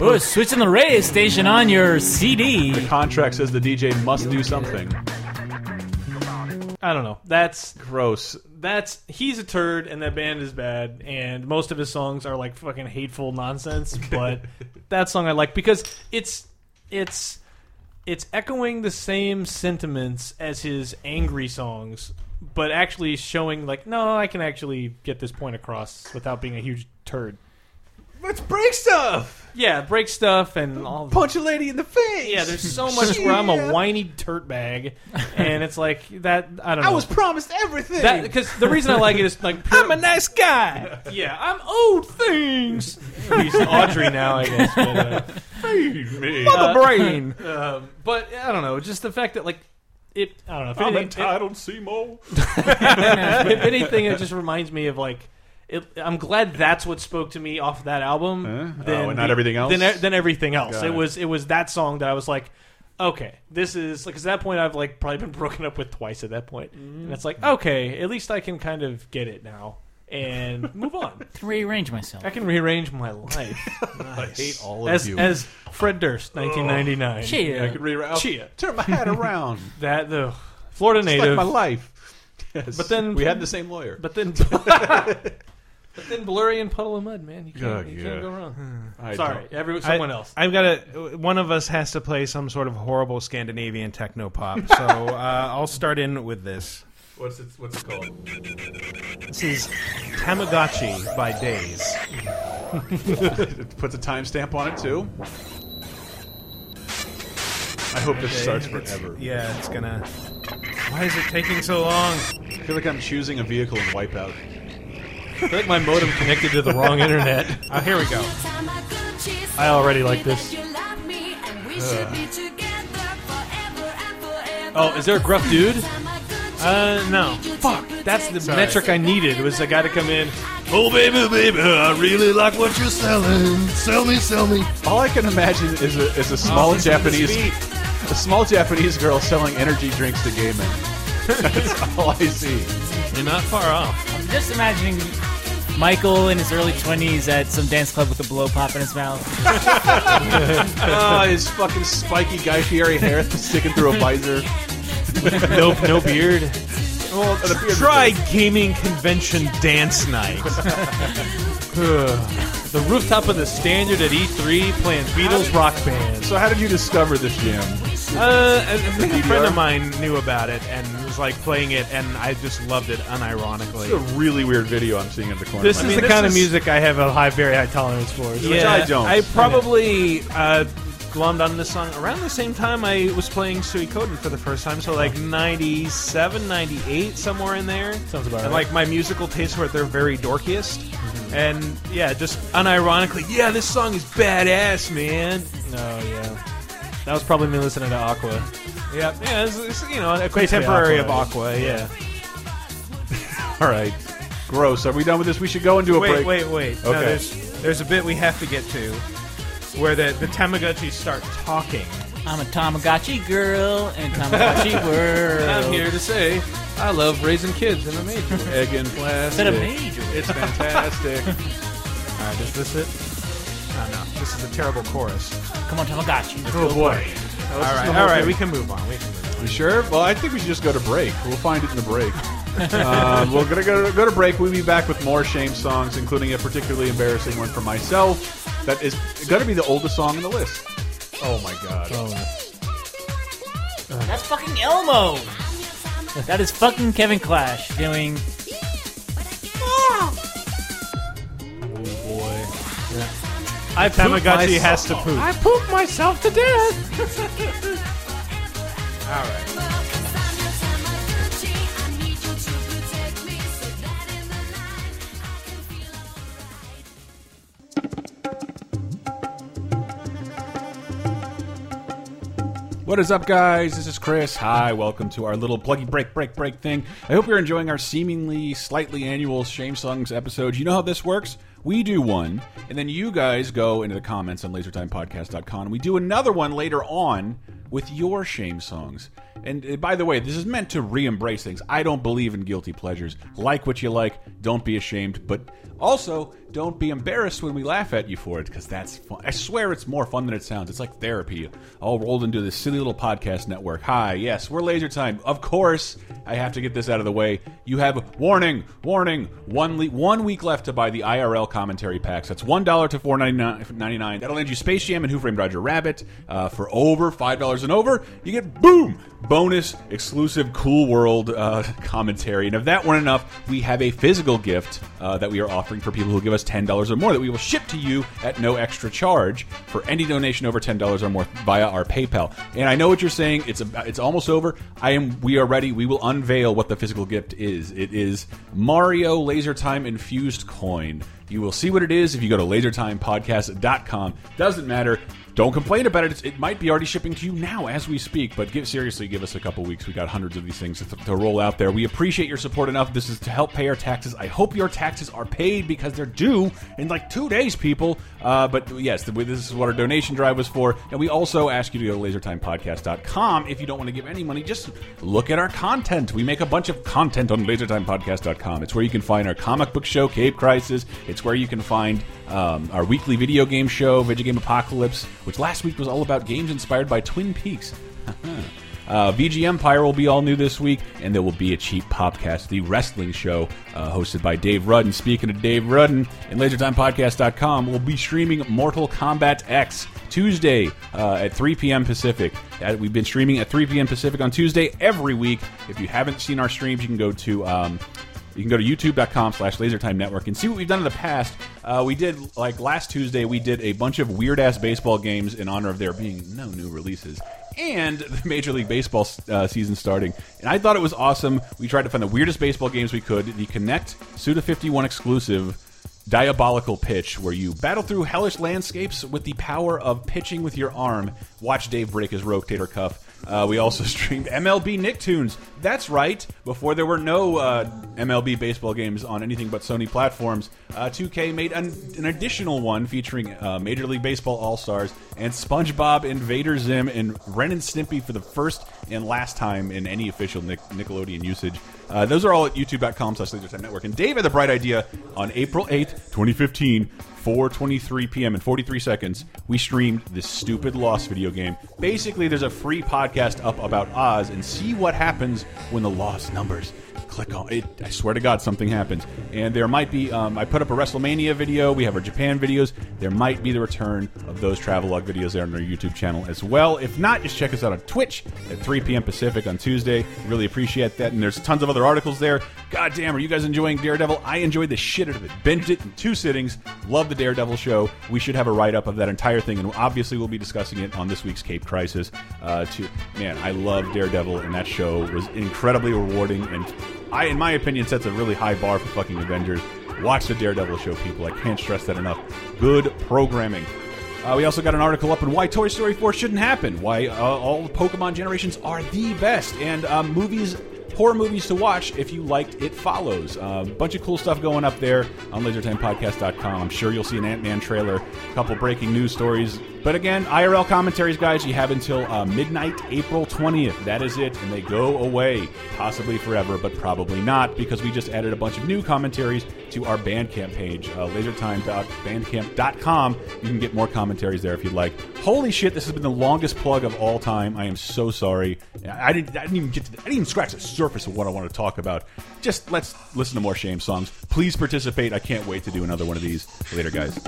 Speaker 4: Oh, switching the radio station on your CD.
Speaker 3: Contract says the DJ must do something.
Speaker 5: I don't know. That's
Speaker 3: Gross.
Speaker 5: that's he's a turd and that band is bad and most of his songs are like fucking hateful nonsense, but that song I like because it's it's it's echoing the same sentiments as his angry songs, but actually showing like no, I can actually get this point across without being a huge turd.
Speaker 3: Let's break stuff.
Speaker 5: Yeah, break stuff and all
Speaker 3: Punch a lady in the face.
Speaker 5: Yeah, there's so much where I'm a whiny dirtbag, and it's like that. I don't know.
Speaker 3: promised everything.
Speaker 5: because the reason I like it is like pure,
Speaker 4: nice guy.
Speaker 5: yeah, I'm old things. He's Audrey now, I guess. But, uh,
Speaker 3: me.
Speaker 5: brain. Um, but I don't know. Just the fact that like it. I don't know. If
Speaker 3: I'm
Speaker 5: anything, it-
Speaker 3: entitled, Seymour.
Speaker 5: if anything, it just reminds me of like. It, I'm glad that's what spoke to me off that album.
Speaker 3: Huh?
Speaker 5: than
Speaker 3: Oh, and not everything else?
Speaker 5: Than, e- than everything else.
Speaker 3: Got
Speaker 5: It
Speaker 3: it.
Speaker 5: was it was that song that I was like, okay, this is like 'cause at that point I've like probably been broken up with twice at that point, and it's like okay, at least I can kind of get it now and move on.
Speaker 4: Rearrange myself.
Speaker 5: I can rearrange my life
Speaker 3: I hate all of
Speaker 5: as
Speaker 3: you.
Speaker 5: as Fred Durst,
Speaker 4: Oh,
Speaker 5: 1999.
Speaker 3: I
Speaker 4: Cheer.
Speaker 3: could reroute.
Speaker 5: Chia.
Speaker 3: Turn my hat around.
Speaker 5: That the Florida
Speaker 3: It's
Speaker 5: native.
Speaker 3: like my life. Yes.
Speaker 5: But then-
Speaker 3: we had the same lawyer.
Speaker 5: But then, But then Blurry and Puddle of Mud, man. You can't,
Speaker 3: Oh,
Speaker 5: you
Speaker 3: yeah.
Speaker 5: can't go wrong.
Speaker 3: I
Speaker 5: Sorry,
Speaker 3: don't-
Speaker 5: every, someone
Speaker 6: I,
Speaker 5: else.
Speaker 6: I've got to. One of us has to play some sort of horrible Scandinavian techno pop. So uh, I'll start in with this.
Speaker 3: What's it? What's it called?
Speaker 6: This is Tamagotchi by Days.
Speaker 3: It puts a timestamp on it too. I hope this starts forever.
Speaker 6: Yeah, it's gonna. Why is it taking so long?
Speaker 3: I feel like I'm choosing a vehicle in Wipeout.
Speaker 5: I feel like my modem connected to the wrong internet.
Speaker 6: Oh, here we go.
Speaker 7: I already like
Speaker 5: this.
Speaker 7: this.
Speaker 5: Oh, is there a gruff dude?
Speaker 7: Uh,
Speaker 6: no.
Speaker 7: Fuck,
Speaker 5: That's the metric I needed. Was a guy to come in.
Speaker 7: Oh, baby, baby.
Speaker 3: All I can imagine is a, is a small Japanese a small Japanese girl selling energy drinks to gay men. That's all I see.
Speaker 6: You're not far off.
Speaker 4: I'm just imagining Michael in his early 20s at some dance club with a blow pop in his mouth.
Speaker 3: Oh, his fucking spiky Guy Fieri hair sticking through a visor.
Speaker 6: Nope, no beard.
Speaker 3: Well, the beard-
Speaker 6: Try gaming convention dance night.
Speaker 5: The rooftop of the standard at E3 playing Beatles rock band.
Speaker 3: So how did you discover this jam?
Speaker 6: Uh, a- a
Speaker 3: DDR?
Speaker 6: friend of mine knew about it and was like playing it, and I just loved it unironically.
Speaker 3: It's a really weird video I'm seeing in the corner.
Speaker 6: This
Speaker 3: of
Speaker 6: I
Speaker 3: my
Speaker 5: this is
Speaker 6: mean,
Speaker 5: the
Speaker 6: this
Speaker 5: kind
Speaker 6: is-
Speaker 5: of music I have a high, very high tolerance for. It's like,
Speaker 3: Which I don't.
Speaker 6: I probably uh, glommed on this song around the same time I was playing Suikoden for the first time, so like 97, 98, somewhere in there.
Speaker 5: Sounds about
Speaker 6: And
Speaker 5: right.
Speaker 6: like my musical tastes were at their very dorkiest. And yeah, just unironically, yeah, this song is badass, man.
Speaker 5: No, yeah. That was probably me listening to Aqua.
Speaker 6: Yeah, yeah, it's, it's, you know, a contemporary of Aqua. Yeah.
Speaker 3: all right. Gross. Are we done with this? We should go and do a
Speaker 6: Wait,
Speaker 3: break.
Speaker 6: wait, wait. No,
Speaker 3: Okay.
Speaker 6: there's there's a bit we have to get to where the the Tamagotchis start talking.
Speaker 4: I'm a Tamagotchi girl in a Tamagotchi world.
Speaker 5: I'm here to say I love raising kids and I'm major.
Speaker 3: Egg in plastic.
Speaker 4: Instead of major.
Speaker 3: It's fantastic.
Speaker 6: All right, is this it? Oh, no, this is a terrible chorus.
Speaker 4: Come on, Tamagotchi.
Speaker 3: oh boy.
Speaker 6: all right, all right, we can move on. We can move on.
Speaker 3: You sure? Well, I think we should just go to break. We'll find it in the break. um, we're gonna go to, go to break. We'll be back with more shame songs, including a particularly embarrassing one for myself that is gonna be the oldest song on the list. Oh my god!
Speaker 4: That's fucking Elmo. That is fucking Kevin Clash doing.
Speaker 5: Ah!
Speaker 6: I Tamagotchi has to poop.
Speaker 5: I pooped myself to death.
Speaker 3: What is up, guys? This is Chris. Hi, welcome to our little pluggy break, break, break thing. I hope you're enjoying our seemingly slightly annual Shame Songs episodes. You know how this works? We do one, and then you guys go into the comments on lasertimepodcast.com. We do another one later on with your shame songs. And uh, by the way, this is meant to re embrace things. I don't believe in guilty pleasures. Like what you like, don't be ashamed, but also don't be embarrassed when we laugh at you for it, because that's fun. I swear it's more fun than it sounds. It's like therapy, all rolled into this silly little podcast network. Hi, yes, we're Laser Time. Of course, I have to get this out of the way. You have warning, warning, one le one week left to buy the IRL commentary packs. That's one dollar to four ninety nine. That'll land you Space Jam and Who Framed Roger Rabbit uh, for over five dollars and over. You get boom bonus exclusive Cool World uh, commentary. And if that weren't enough, we have a physical gift uh, that we are offering for people who give us ten dollars or more that we will ship to you at no extra charge for any donation over ten dollars or more via our PayPal. And I know what you're saying. It's about, it's almost over. I am. We are ready. We will unveil what the physical gift is. It is Mario Laser Time infused coin. You will see what it is if you go to lasertimepodcast.com. Doesn't matter. Don't complain about it. It's, it might be already shipping to you now as we speak, but give, seriously, give us a couple weeks. We got hundreds of these things to, to roll out there. We appreciate your support enough. This is to help pay our taxes. I hope your taxes are paid because they're due in like two days, people. Uh, but yes, the, this is what our donation drive was for. And we also ask you to go to lasertimepodcast.com if you don't want to give any money. Just look at our content. We make a bunch of content on lasertimepodcast.com. It's where you can find our comic book show, Cape Crisis. It's where you can find um, our weekly video game show, Video Game Apocalypse, which last week was all about games inspired by Twin Peaks. Uh, VG Empire will be all new this week, and there will be a cheap podcast, the wrestling show uh, hosted by Dave Rudden. Speaking of Dave Rudden, and LaserTimePodcast.com will be streaming Mortal Kombat X Tuesday uh, at 3 p.m. Pacific. That- We've been streaming at 3 p.m. Pacific on Tuesday every week. If you haven't seen our streams, you can go to. Um, you can go to youtube.com slash lasertime network and see what we've done in the past. Uh, we did, like last Tuesday, we did a bunch of weird ass baseball games in honor of there being no new releases and the Major League Baseball uh, season starting. And I thought it was awesome. We tried to find the weirdest baseball games we could. The Connect Suda 51 exclusive diabolical pitch where you battle through hellish landscapes with the power of pitching with your arm. Watch Dave break his rotator cuff. Uh, we also streamed MLB Nicktoons. That's right. Before there were no uh, MLB baseball games on anything but Sony platforms, uh, 2K made an, an additional one featuring uh, Major League Baseball All Stars and SpongeBob Invader Zim and Ren and Snippy for the first and last time in any official Nic Nickelodeon usage. Uh, those are all at youtube.com slash lasertime network. And Dave had the bright idea on April 8th, 2015, 4.23 p.m. in 43 seconds, we streamed this stupid Lost video game. Basically, there's a free podcast up about Oz and see what happens when the Lost numbers click on it. I swear to God, something happens. And there might be, um, I put up a WrestleMania video. We have our Japan videos. There might be the return of those travelogue videos there on our YouTube channel as well. If not, just check us out on Twitch at 3 p.m. Pacific on Tuesday. Really appreciate that. And there's tons of other articles there. God damn, are you guys enjoying Daredevil? I enjoyed the shit out of it. Binged it in two sittings. Love the Daredevil show. We should have a write up of that entire thing. And obviously, we'll be discussing it on this week's Cape Crisis. Uh, to, man, I love Daredevil, and that show was incredibly rewarding and I, in my opinion, sets a really high bar for fucking Avengers. Watch the Daredevil show, people. I can't stress that enough. Good programming. Uh, we also got an article up on why Toy Story 4 shouldn't happen, why uh, all Pokemon generations are the best, and um, movies, horror movies to watch if you liked It Follows. A bunch of cool stuff going up there on lasertimepodcast.com. I'm sure you'll see an Ant Man trailer, a couple breaking news stories. But again, IRL commentaries, guys, you have until uh, midnight, April 20th. That is it, and they go away, possibly forever, but probably not, because we just added a bunch of new commentaries to our Bandcamp page, uh, lasertime.bandcamp.com. You can get more commentaries there if you'd like. Holy shit, this has been the longest plug of all time. I am so sorry. I I didn't, I didn't even get to the, I didn't even scratch the surface of what I want to talk about. Just let's listen to more shame songs. Please participate. I can't wait to do another one of these later, guys.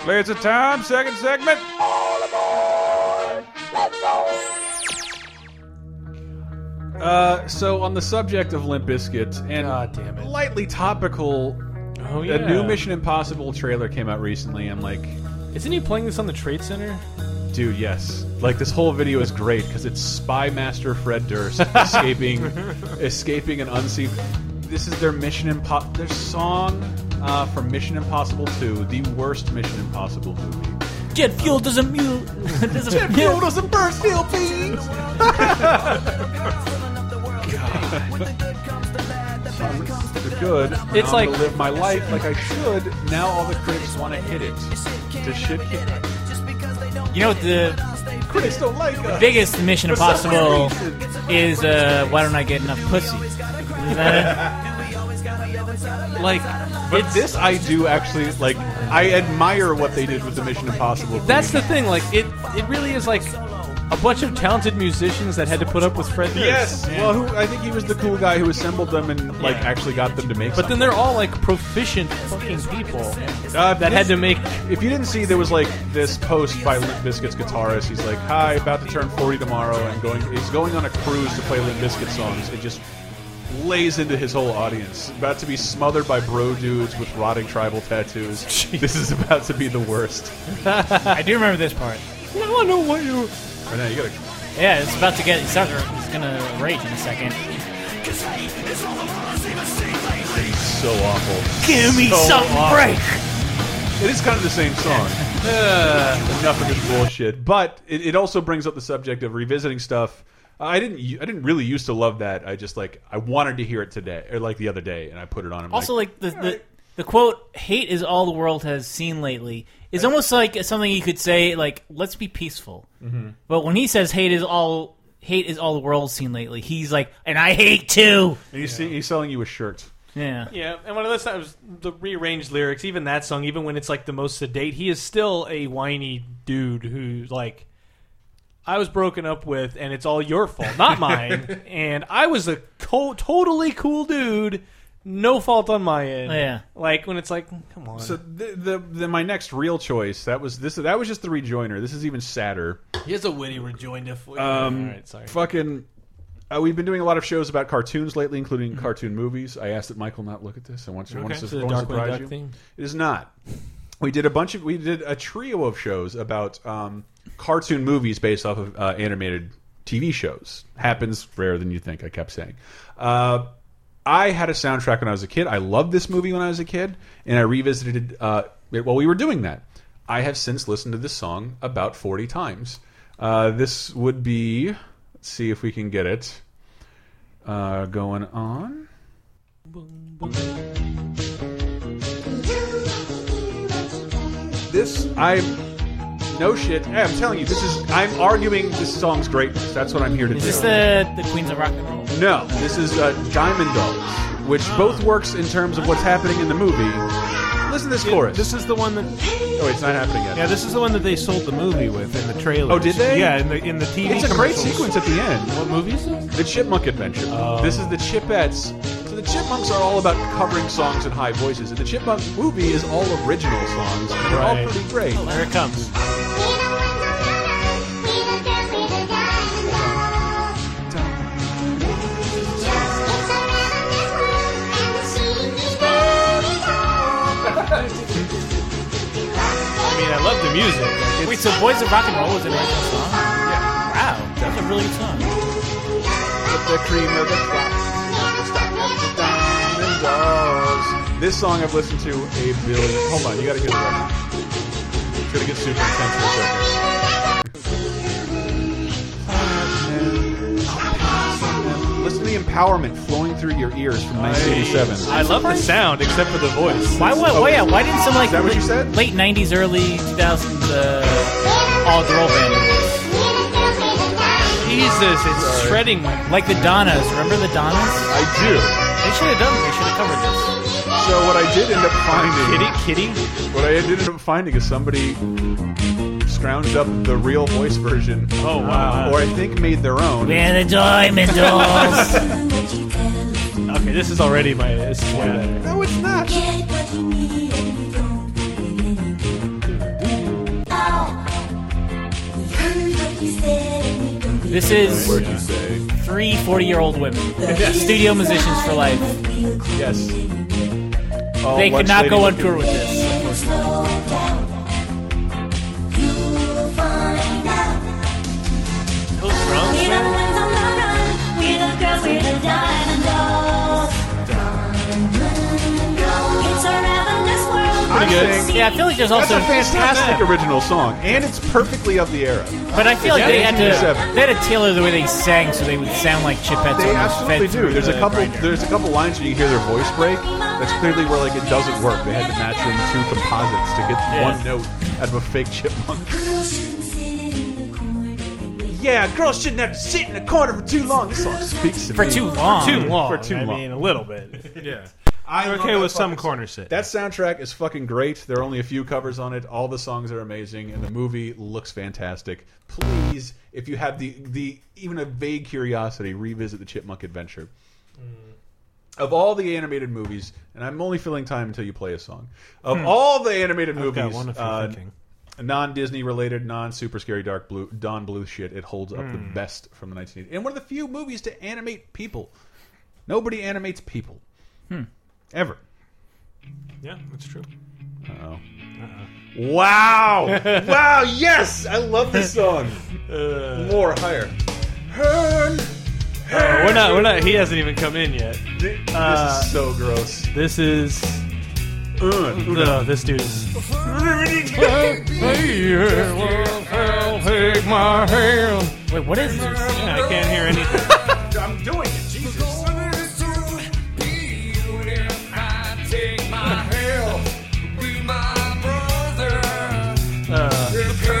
Speaker 9: Players of time, second segment.
Speaker 7: Uh, so on the subject of Limp Bizkit and
Speaker 5: Ah, damn it.
Speaker 7: lightly topical,
Speaker 5: Oh yeah.
Speaker 7: a new Mission Impossible trailer came out recently. I'm like,
Speaker 5: Isn't he playing this on the Trade Center?
Speaker 7: dude, yes. Like this whole video is great because it's Spy Master Fred Durst escaping, escaping an unseen. This is their Mission Impossible. Their song uh, from Mission Impossible 2, the worst Mission Impossible movie.
Speaker 4: Jet fuel doesn't mute. doesn't Jet
Speaker 7: Fuel doesn't burst, feel please. They're good. and
Speaker 5: It's
Speaker 7: I'm
Speaker 5: like-
Speaker 7: gonna live my life like I should. Now all the critics want to hit it. The shit hit.
Speaker 4: You know what the
Speaker 7: Critics don't like us.
Speaker 4: biggest Mission
Speaker 7: For some
Speaker 4: Impossible
Speaker 7: reason.
Speaker 4: is uh, why don't I get enough pussy? Is that
Speaker 5: Like,
Speaker 7: But
Speaker 5: it's,
Speaker 7: this I do actually like. I admire what they did with the Mission Impossible.
Speaker 5: That's the
Speaker 7: movie.
Speaker 5: thing. Like, it it really is like a bunch of talented musicians that had to put up with Fred. Durst.
Speaker 7: Yes. Well, who, I think he was the cool guy who assembled them and like actually got them to make.
Speaker 5: But
Speaker 7: something.
Speaker 5: then they're all like proficient fucking people
Speaker 7: Uh,
Speaker 5: that had to make.
Speaker 7: If you didn't see, there was like this post by Limp Bizkit's guitarist. He's like, "Hi, about to turn 40 tomorrow, and going. He's going on a cruise to play Limp Bizkit songs. It just lays into his whole audience. About to be smothered by bro dudes with rotting tribal tattoos. This is about to be the worst.
Speaker 4: I do remember this part.
Speaker 5: No, I know what you.
Speaker 7: Right now, you gotta.
Speaker 4: Yeah, it's about to get. It's, it's gonna rage in a second.
Speaker 7: So awful.
Speaker 4: Give me
Speaker 7: So
Speaker 4: some
Speaker 7: awful.
Speaker 4: break.
Speaker 7: It is kind of the same song. Uh, enough of this bullshit. But it, it also brings up the subject of revisiting stuff. I didn't. u- I didn't really used to love that. I just like. I wanted to hear it today, or like the other day, and I put it on. I'm
Speaker 4: Also, like the, the the quote "hate is all the world has seen lately" is almost like something you could say like "let's be peaceful."
Speaker 3: Mm-hmm.
Speaker 4: But when he says "hate is all hate is all the world's seen lately," he's like, "and I hate too."
Speaker 7: And he's, he's selling you a shirt.
Speaker 4: Yeah.
Speaker 5: Yeah, and one of those times the rearranged lyrics, even that song, even when it's like the most sedate, he is still a whiny dude who's like, I was broken up with, and it's all your fault, not mine. and I was a co- totally cool dude, no fault on my end.
Speaker 4: Yeah.
Speaker 5: like when it's like, come on,
Speaker 3: So the, the, the my next real choice that was this that was just the rejoiner. This is even sadder.
Speaker 5: here's a witty rejoinder for you.
Speaker 3: Um,
Speaker 5: all right, sorry.
Speaker 3: Fucking. Uh, we've been doing a lot of shows about cartoons lately, including cartoon movies. I asked that Michael not look at this. I want to, I want to,
Speaker 5: Is it
Speaker 3: I
Speaker 5: a
Speaker 3: want to
Speaker 5: Darkwing
Speaker 3: surprise
Speaker 5: Duck
Speaker 3: you.
Speaker 5: theme?
Speaker 3: It is not. We did a bunch of we did a trio of shows about um, cartoon movies based off of uh, animated TV shows. Happens rarer than you think. I kept saying. Uh, I had a soundtrack when I was a kid. I loved this movie when I was a kid, and I revisited uh, it while we were doing that. I have since listened to this song about forty times. Uh, this would be. Let's see if we can get it uh, going on. this I no shit. Hey, I'm telling you, this is I'm arguing this song's greatness. That's what I'm here to
Speaker 4: Is
Speaker 3: do.
Speaker 4: this the the Queens of Rock and Roll?
Speaker 3: no, this is uh, Diamond Dogs, which both works in terms of what's happening in the movie. Listen to this chorus.
Speaker 6: This is the one that
Speaker 3: oh, it's not happening yet.
Speaker 6: yeah, this is the one that they sold the movie with in the trailer.
Speaker 3: Oh, did they?
Speaker 6: Yeah, in the in the TV.
Speaker 3: it's a great
Speaker 6: commercials.
Speaker 3: sequence at the end.
Speaker 6: What Oh. movie is this?
Speaker 3: The Chipmunk Adventure. This is the Chipettes. So the Chipmunks are all about covering songs in high voices, and the Chipmunks movie is all original songs. and They're all
Speaker 5: Right.
Speaker 3: pretty great.
Speaker 5: Here it comes. I mean, I love the music. Like,
Speaker 4: Wait, so Boys of Rock and Roll was an original song? Wow, that's a really good song.
Speaker 3: the cream of the crop. Stop at the diamond dogs. This song I've listened to a billion. Hold on, you gotta hear the record. It's gonna get super intense for a second. Listen to the empowerment flowing through your ears from 1987.
Speaker 5: I love the sound except for the voice.
Speaker 4: Why? Why? why yeah, why didn't some like
Speaker 3: Is that what you said?
Speaker 4: late '90s, early 2000s uh, all girl band
Speaker 5: Jesus, it's shredding my
Speaker 4: like the Donnas? Remember the Donnas?
Speaker 3: I do.
Speaker 4: They should have done. They should have covered this.
Speaker 3: So what I did end up finding,
Speaker 5: kitty, kitty.
Speaker 3: what I did end up finding is somebody scrounged up the real voice version,
Speaker 5: Oh wow.
Speaker 3: or I think made their own.
Speaker 4: We're the Diamond Dolls.
Speaker 5: Okay, this is already my. This is way better.
Speaker 3: No, it's not.
Speaker 4: this is three 40-year-old women, studio musicians for life.
Speaker 3: Yes. Oh,
Speaker 4: They could not go on tour with this.
Speaker 5: Those drums, man.
Speaker 4: Yeah, I feel like there's also
Speaker 3: That's a fantastic original song, and it's perfectly of the era.
Speaker 4: But I feel like they had to
Speaker 3: 1987.
Speaker 4: they had to tailor the way they sang so they would sound like Chipettes.
Speaker 3: They
Speaker 4: on the
Speaker 3: absolutely
Speaker 4: Fed
Speaker 3: do. There's a
Speaker 4: the
Speaker 3: couple.
Speaker 4: grinder.
Speaker 3: There's a couple lines that you hear their voice break. That's clearly where like it doesn't work. They had to match in two composites to get one note out of a fake chipmunk. Yeah, girls shouldn't have to sit in the corner for too long. This song speaks to
Speaker 4: for
Speaker 3: me.
Speaker 4: too long.
Speaker 5: Too long.
Speaker 3: For too
Speaker 5: I
Speaker 3: long.
Speaker 5: mean, a little bit.
Speaker 6: Yeah. I'm okay with some corner sit.
Speaker 3: That soundtrack is fucking great. There are only a few covers on it. All the songs are amazing, and the movie looks fantastic. Please, if you have the the even a vague curiosity, revisit the Chipmunk Adventure. Of all the animated movies, and I'm only filling time until you play a song. Of all the animated
Speaker 6: I've got
Speaker 3: movies,
Speaker 6: one if you're
Speaker 3: uh,
Speaker 6: thinking.
Speaker 3: non-Disney related, non-super scary dark blue, Don Bluth shit, it holds up the best from the 1980s, and one of the few movies to animate people. Nobody animates people,
Speaker 6: Hmm.
Speaker 3: ever.
Speaker 6: Yeah, that's true.
Speaker 3: Oh. Wow! wow! Yes, I love this song.
Speaker 5: Uh.
Speaker 3: More higher. Hearn.
Speaker 5: Oh, we're not. We're not. He hasn't even come in yet.
Speaker 3: Th- This
Speaker 5: Uh,
Speaker 3: is so gross.
Speaker 5: This is. No, this dude is. take my hand.
Speaker 4: Wait, what is this?
Speaker 5: I can't hear anything.
Speaker 3: I'm doing it. Jesus.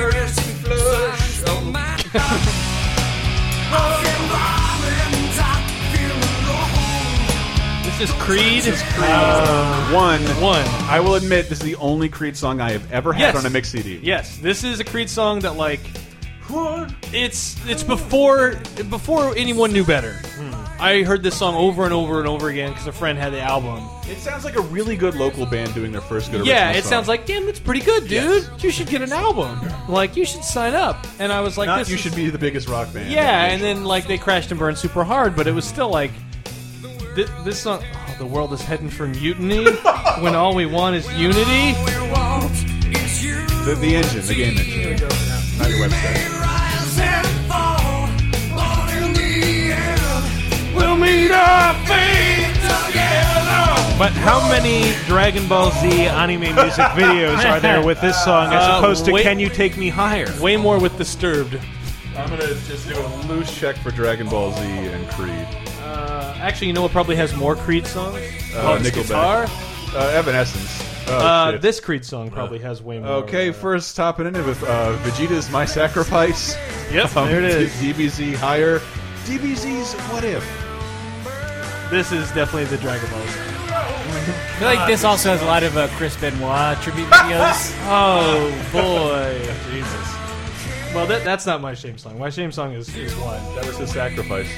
Speaker 5: This Assassin's Creed.
Speaker 3: Uh, One.
Speaker 5: One.
Speaker 3: I will admit, this is the only Creed song I have ever had
Speaker 5: Yes.
Speaker 3: on a mix CD.
Speaker 5: Yes, this is a Creed song that like it's it's before before anyone knew better.
Speaker 3: Hmm.
Speaker 5: I heard this song over and over and over again because a friend had the album.
Speaker 3: It sounds like a really good local band doing their first good
Speaker 5: Yeah,
Speaker 3: original
Speaker 5: it
Speaker 3: song.
Speaker 5: sounds like damn, that's pretty good, dude.
Speaker 3: Yes.
Speaker 5: You should get an album. Like you should sign up. And I was like,
Speaker 3: Not
Speaker 5: this
Speaker 3: you
Speaker 5: is-
Speaker 3: should be the biggest rock band.
Speaker 5: Yeah, and then like they crashed and burned super hard, but it was still like thi- this song. Oh, the world is heading for mutiny when all we want is unity.
Speaker 3: the, the engine, the game engine. Not your website.
Speaker 5: We'll meet our
Speaker 6: But how many Dragon Ball Z anime music videos are there with this song as
Speaker 5: Uh,
Speaker 6: opposed to
Speaker 5: wait-
Speaker 6: Can You Take Me Higher?
Speaker 5: Way more with disturbed. Uh,
Speaker 3: I'm gonna just do a loose check for Dragon Ball Z and Creed.
Speaker 5: Uh, actually, you know what probably has more Creed songs?
Speaker 3: Uh,
Speaker 5: Love's
Speaker 3: Nickelback.
Speaker 5: Oh, Guitar.
Speaker 3: Uh, Evanescence. Oh,
Speaker 5: Uh,
Speaker 3: shit.
Speaker 5: this Creed song probably has way more.
Speaker 3: Okay,
Speaker 5: uh,
Speaker 3: first topping in with uh, Vegeta's My Sacrifice.
Speaker 5: Yep,
Speaker 3: Um,
Speaker 5: there it is.
Speaker 3: DBZ Higher. DBZ's What If?
Speaker 5: This is definitely the Dragon Ball. song.
Speaker 4: I feel like this also has a lot of uh, Chris Benoit tribute videos.
Speaker 5: Oh boy, Jesus. Well, that, that's not my shame song. My shame song is, is one.
Speaker 3: That was his sacrifice.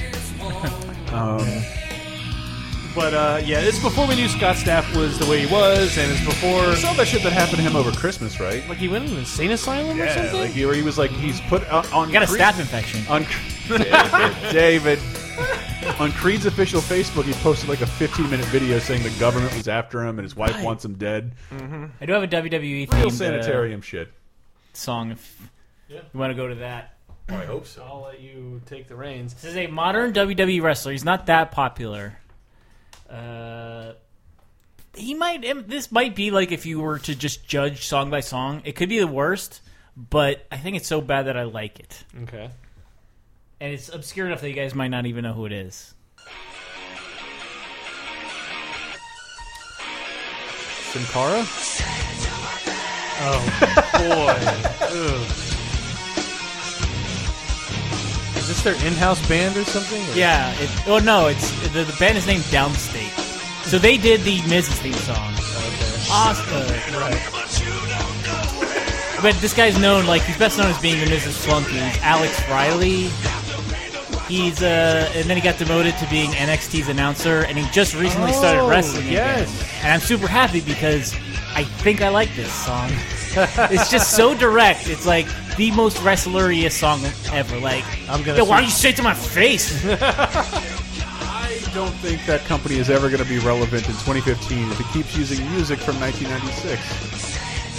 Speaker 5: But uh, yeah, it's before we knew Scott Staff was the way he was, and it's before
Speaker 3: You saw that shit that happened to him over Christmas, right?
Speaker 5: like he went in an insane asylum or something.
Speaker 3: like he, where he was like he's put on. on
Speaker 4: I got a
Speaker 3: Creed-
Speaker 4: staph infection.
Speaker 3: on David. David. On Creed's official Facebook, he posted like a 15 minute video saying the government was after him and his wife wants him dead.
Speaker 4: I do have a WWE
Speaker 5: uh,
Speaker 3: Real
Speaker 4: themed uh,
Speaker 3: sanitarium shit.
Speaker 4: song. If you want to go to that,
Speaker 3: I hope so.
Speaker 5: I'll let you take the reins.
Speaker 4: this is a modern WWE wrestler. He's not that popular. Uh, he might. em- This might be like if you were to just judge song by song. It could be the worst, but I think it's so bad that I like it,
Speaker 5: Okay.
Speaker 4: and it's obscure enough that you guys might not even know who it is.
Speaker 3: Sin Cara?
Speaker 5: Oh, Is this their in-house band or something? or-
Speaker 4: Yeah. It, oh no, it's the, the band is named Downstate. So they did the Mrs. theme song. Awesome. But this guy's known, like, he's best known as being the Mrs. Flunky. He's Alex Riley. He's, uh, and then he got demoted to being NXT's announcer, and he just recently started
Speaker 5: Oh,
Speaker 4: wrestling
Speaker 5: yes.
Speaker 4: again. And I'm super happy because I think I like this song. it's just so direct. It's like the most wrestleriest song ever. Like,
Speaker 5: I'm gonna
Speaker 4: yo, why
Speaker 5: say-
Speaker 4: don't you say it to my face?
Speaker 3: I don't think that company is ever going to be relevant in 2015 if it keeps using music from 1996.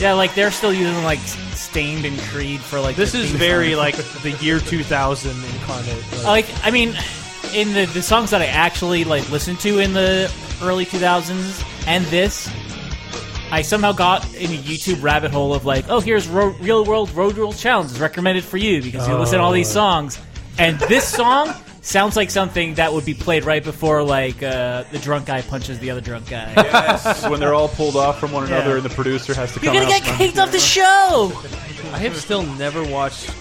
Speaker 4: Yeah, like they're still using like Stained and Creed for like.
Speaker 5: This
Speaker 4: their
Speaker 5: is
Speaker 4: theme
Speaker 5: very
Speaker 4: songs.
Speaker 5: like the year 2000 incarnate. Like,
Speaker 4: like I mean, in the the songs that I actually like listened to in the early 2000s and this, I somehow got in a YouTube rabbit hole of like, oh, here's ro- real world road rule challenges recommended for you because you listen to all these
Speaker 5: Oh.
Speaker 4: songs, and this song. Sounds like something that would be played right before, like uh, the drunk guy punches the other drunk guy.
Speaker 3: Yes. when they're all pulled off from one another
Speaker 4: Yeah.
Speaker 3: and the producer has to
Speaker 4: You're
Speaker 3: come
Speaker 4: gonna
Speaker 3: out.
Speaker 4: get kicked off the show.
Speaker 5: I have still never watched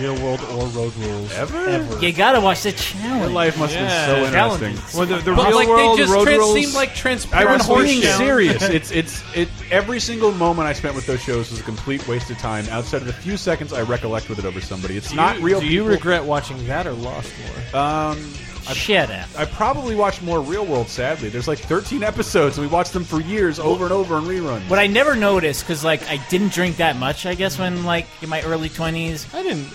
Speaker 5: Real World or Road Rules.
Speaker 3: Ever?
Speaker 4: You gotta watch the
Speaker 3: Their
Speaker 4: challenge.
Speaker 3: life must
Speaker 5: Yeah.
Speaker 3: have been so
Speaker 4: Challenges.
Speaker 3: interesting.
Speaker 6: Well, the, the
Speaker 5: But
Speaker 6: real
Speaker 5: like
Speaker 6: world
Speaker 5: they just
Speaker 6: road
Speaker 5: trans-
Speaker 6: rules.
Speaker 5: seemed like
Speaker 3: I
Speaker 5: transparent.
Speaker 3: was being
Speaker 5: challenge.
Speaker 3: serious. It's it's it. Every single moment I spent with those shows was a complete waste of time. Outside of the few seconds I recollect with it over somebody, it's not real.
Speaker 5: Do you
Speaker 3: people.
Speaker 5: regret watching that or Lost more?
Speaker 3: Um,
Speaker 4: Shut up.
Speaker 3: I probably watched more Real World. Sadly, there's like 13 episodes, and we watched them for years, over and over in reruns.
Speaker 4: What I never noticed, because like I didn't drink that much, I guess, when like in my early twenties.
Speaker 5: I didn't.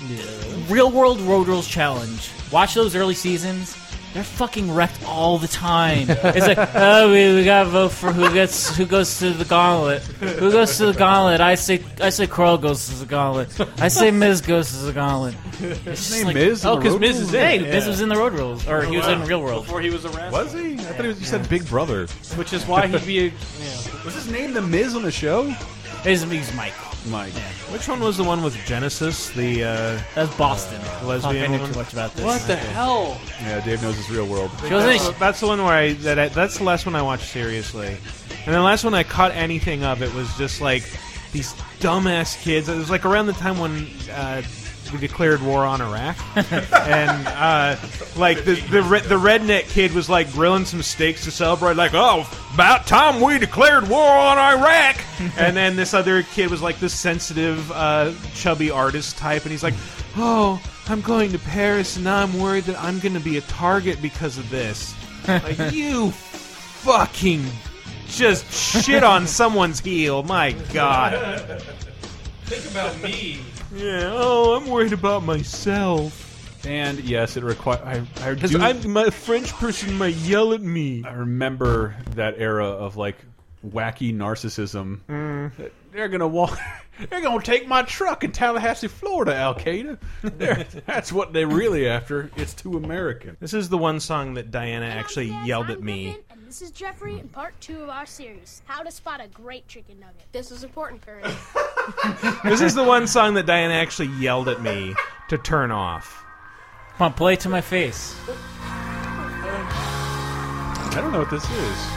Speaker 4: Real World Road Rules Challenge. Watch those early seasons. They're fucking wrecked all the time. It's like, oh, we, we gotta vote for who gets who goes to the gauntlet. Who goes to the gauntlet? I say I say Coral goes to the gauntlet. I say Miz goes to the gauntlet. It's just
Speaker 3: name Miz in
Speaker 4: Oh,
Speaker 3: the
Speaker 4: because
Speaker 3: Road
Speaker 4: Miz is
Speaker 3: Rules?
Speaker 4: in. Hey,
Speaker 5: Yeah.
Speaker 4: Miz was in the Road Rules, or he was in Real World.
Speaker 5: Before he was a wrestler,
Speaker 3: was he? I thought he was. You said Big Brother.
Speaker 5: which is why he'd be. A,
Speaker 3: Was his name the Miz on the show?
Speaker 4: His name's Mike.
Speaker 3: Mike.
Speaker 6: Which one was the one with Genesis? The uh,
Speaker 4: That's Boston. Fuck, I
Speaker 6: lesbian
Speaker 4: knew
Speaker 6: one?
Speaker 4: too much about this.
Speaker 5: what the hell?
Speaker 3: Yeah, Dave knows his Real World.
Speaker 4: She wasn't-
Speaker 6: That's, that's the one where I that I, that's the last one I watched seriously, and the last one I caught anything of it was just like these dumbass kids. It was like around the time when uh, we declared war on Iraq, and uh, like the the re- the redneck kid was like grilling some steaks to celebrate, like oh, about time we declared war on Iraq. and then this other kid was like this sensitive, uh, chubby artist type, and he's like, oh, I'm going to Paris, and now I'm worried that I'm going to be a target because of this. Like you fucking just shit on someone's heel. My God.
Speaker 5: Think about me.
Speaker 6: Yeah. Oh, I'm worried about myself.
Speaker 3: And yes, it requires. I, I
Speaker 6: Because
Speaker 3: do-
Speaker 6: I'm my French person might yell at me.
Speaker 3: I remember that era of like wacky narcissism.
Speaker 6: Mm-hmm.
Speaker 3: They're gonna walk. They're gonna take my truck in Tallahassee, Florida. Al Qaeda. They're- That's what they're really after. It's too American.
Speaker 6: This is the one song that Diana actually yelled at me.
Speaker 10: And this is Jeffrey in part two of our series How to Spot a Great Chicken Nugget. This is important, Curry.
Speaker 6: This is the one song that Diana actually yelled at me to turn off.
Speaker 4: Come on, play it to my face.
Speaker 3: I don't know what this is.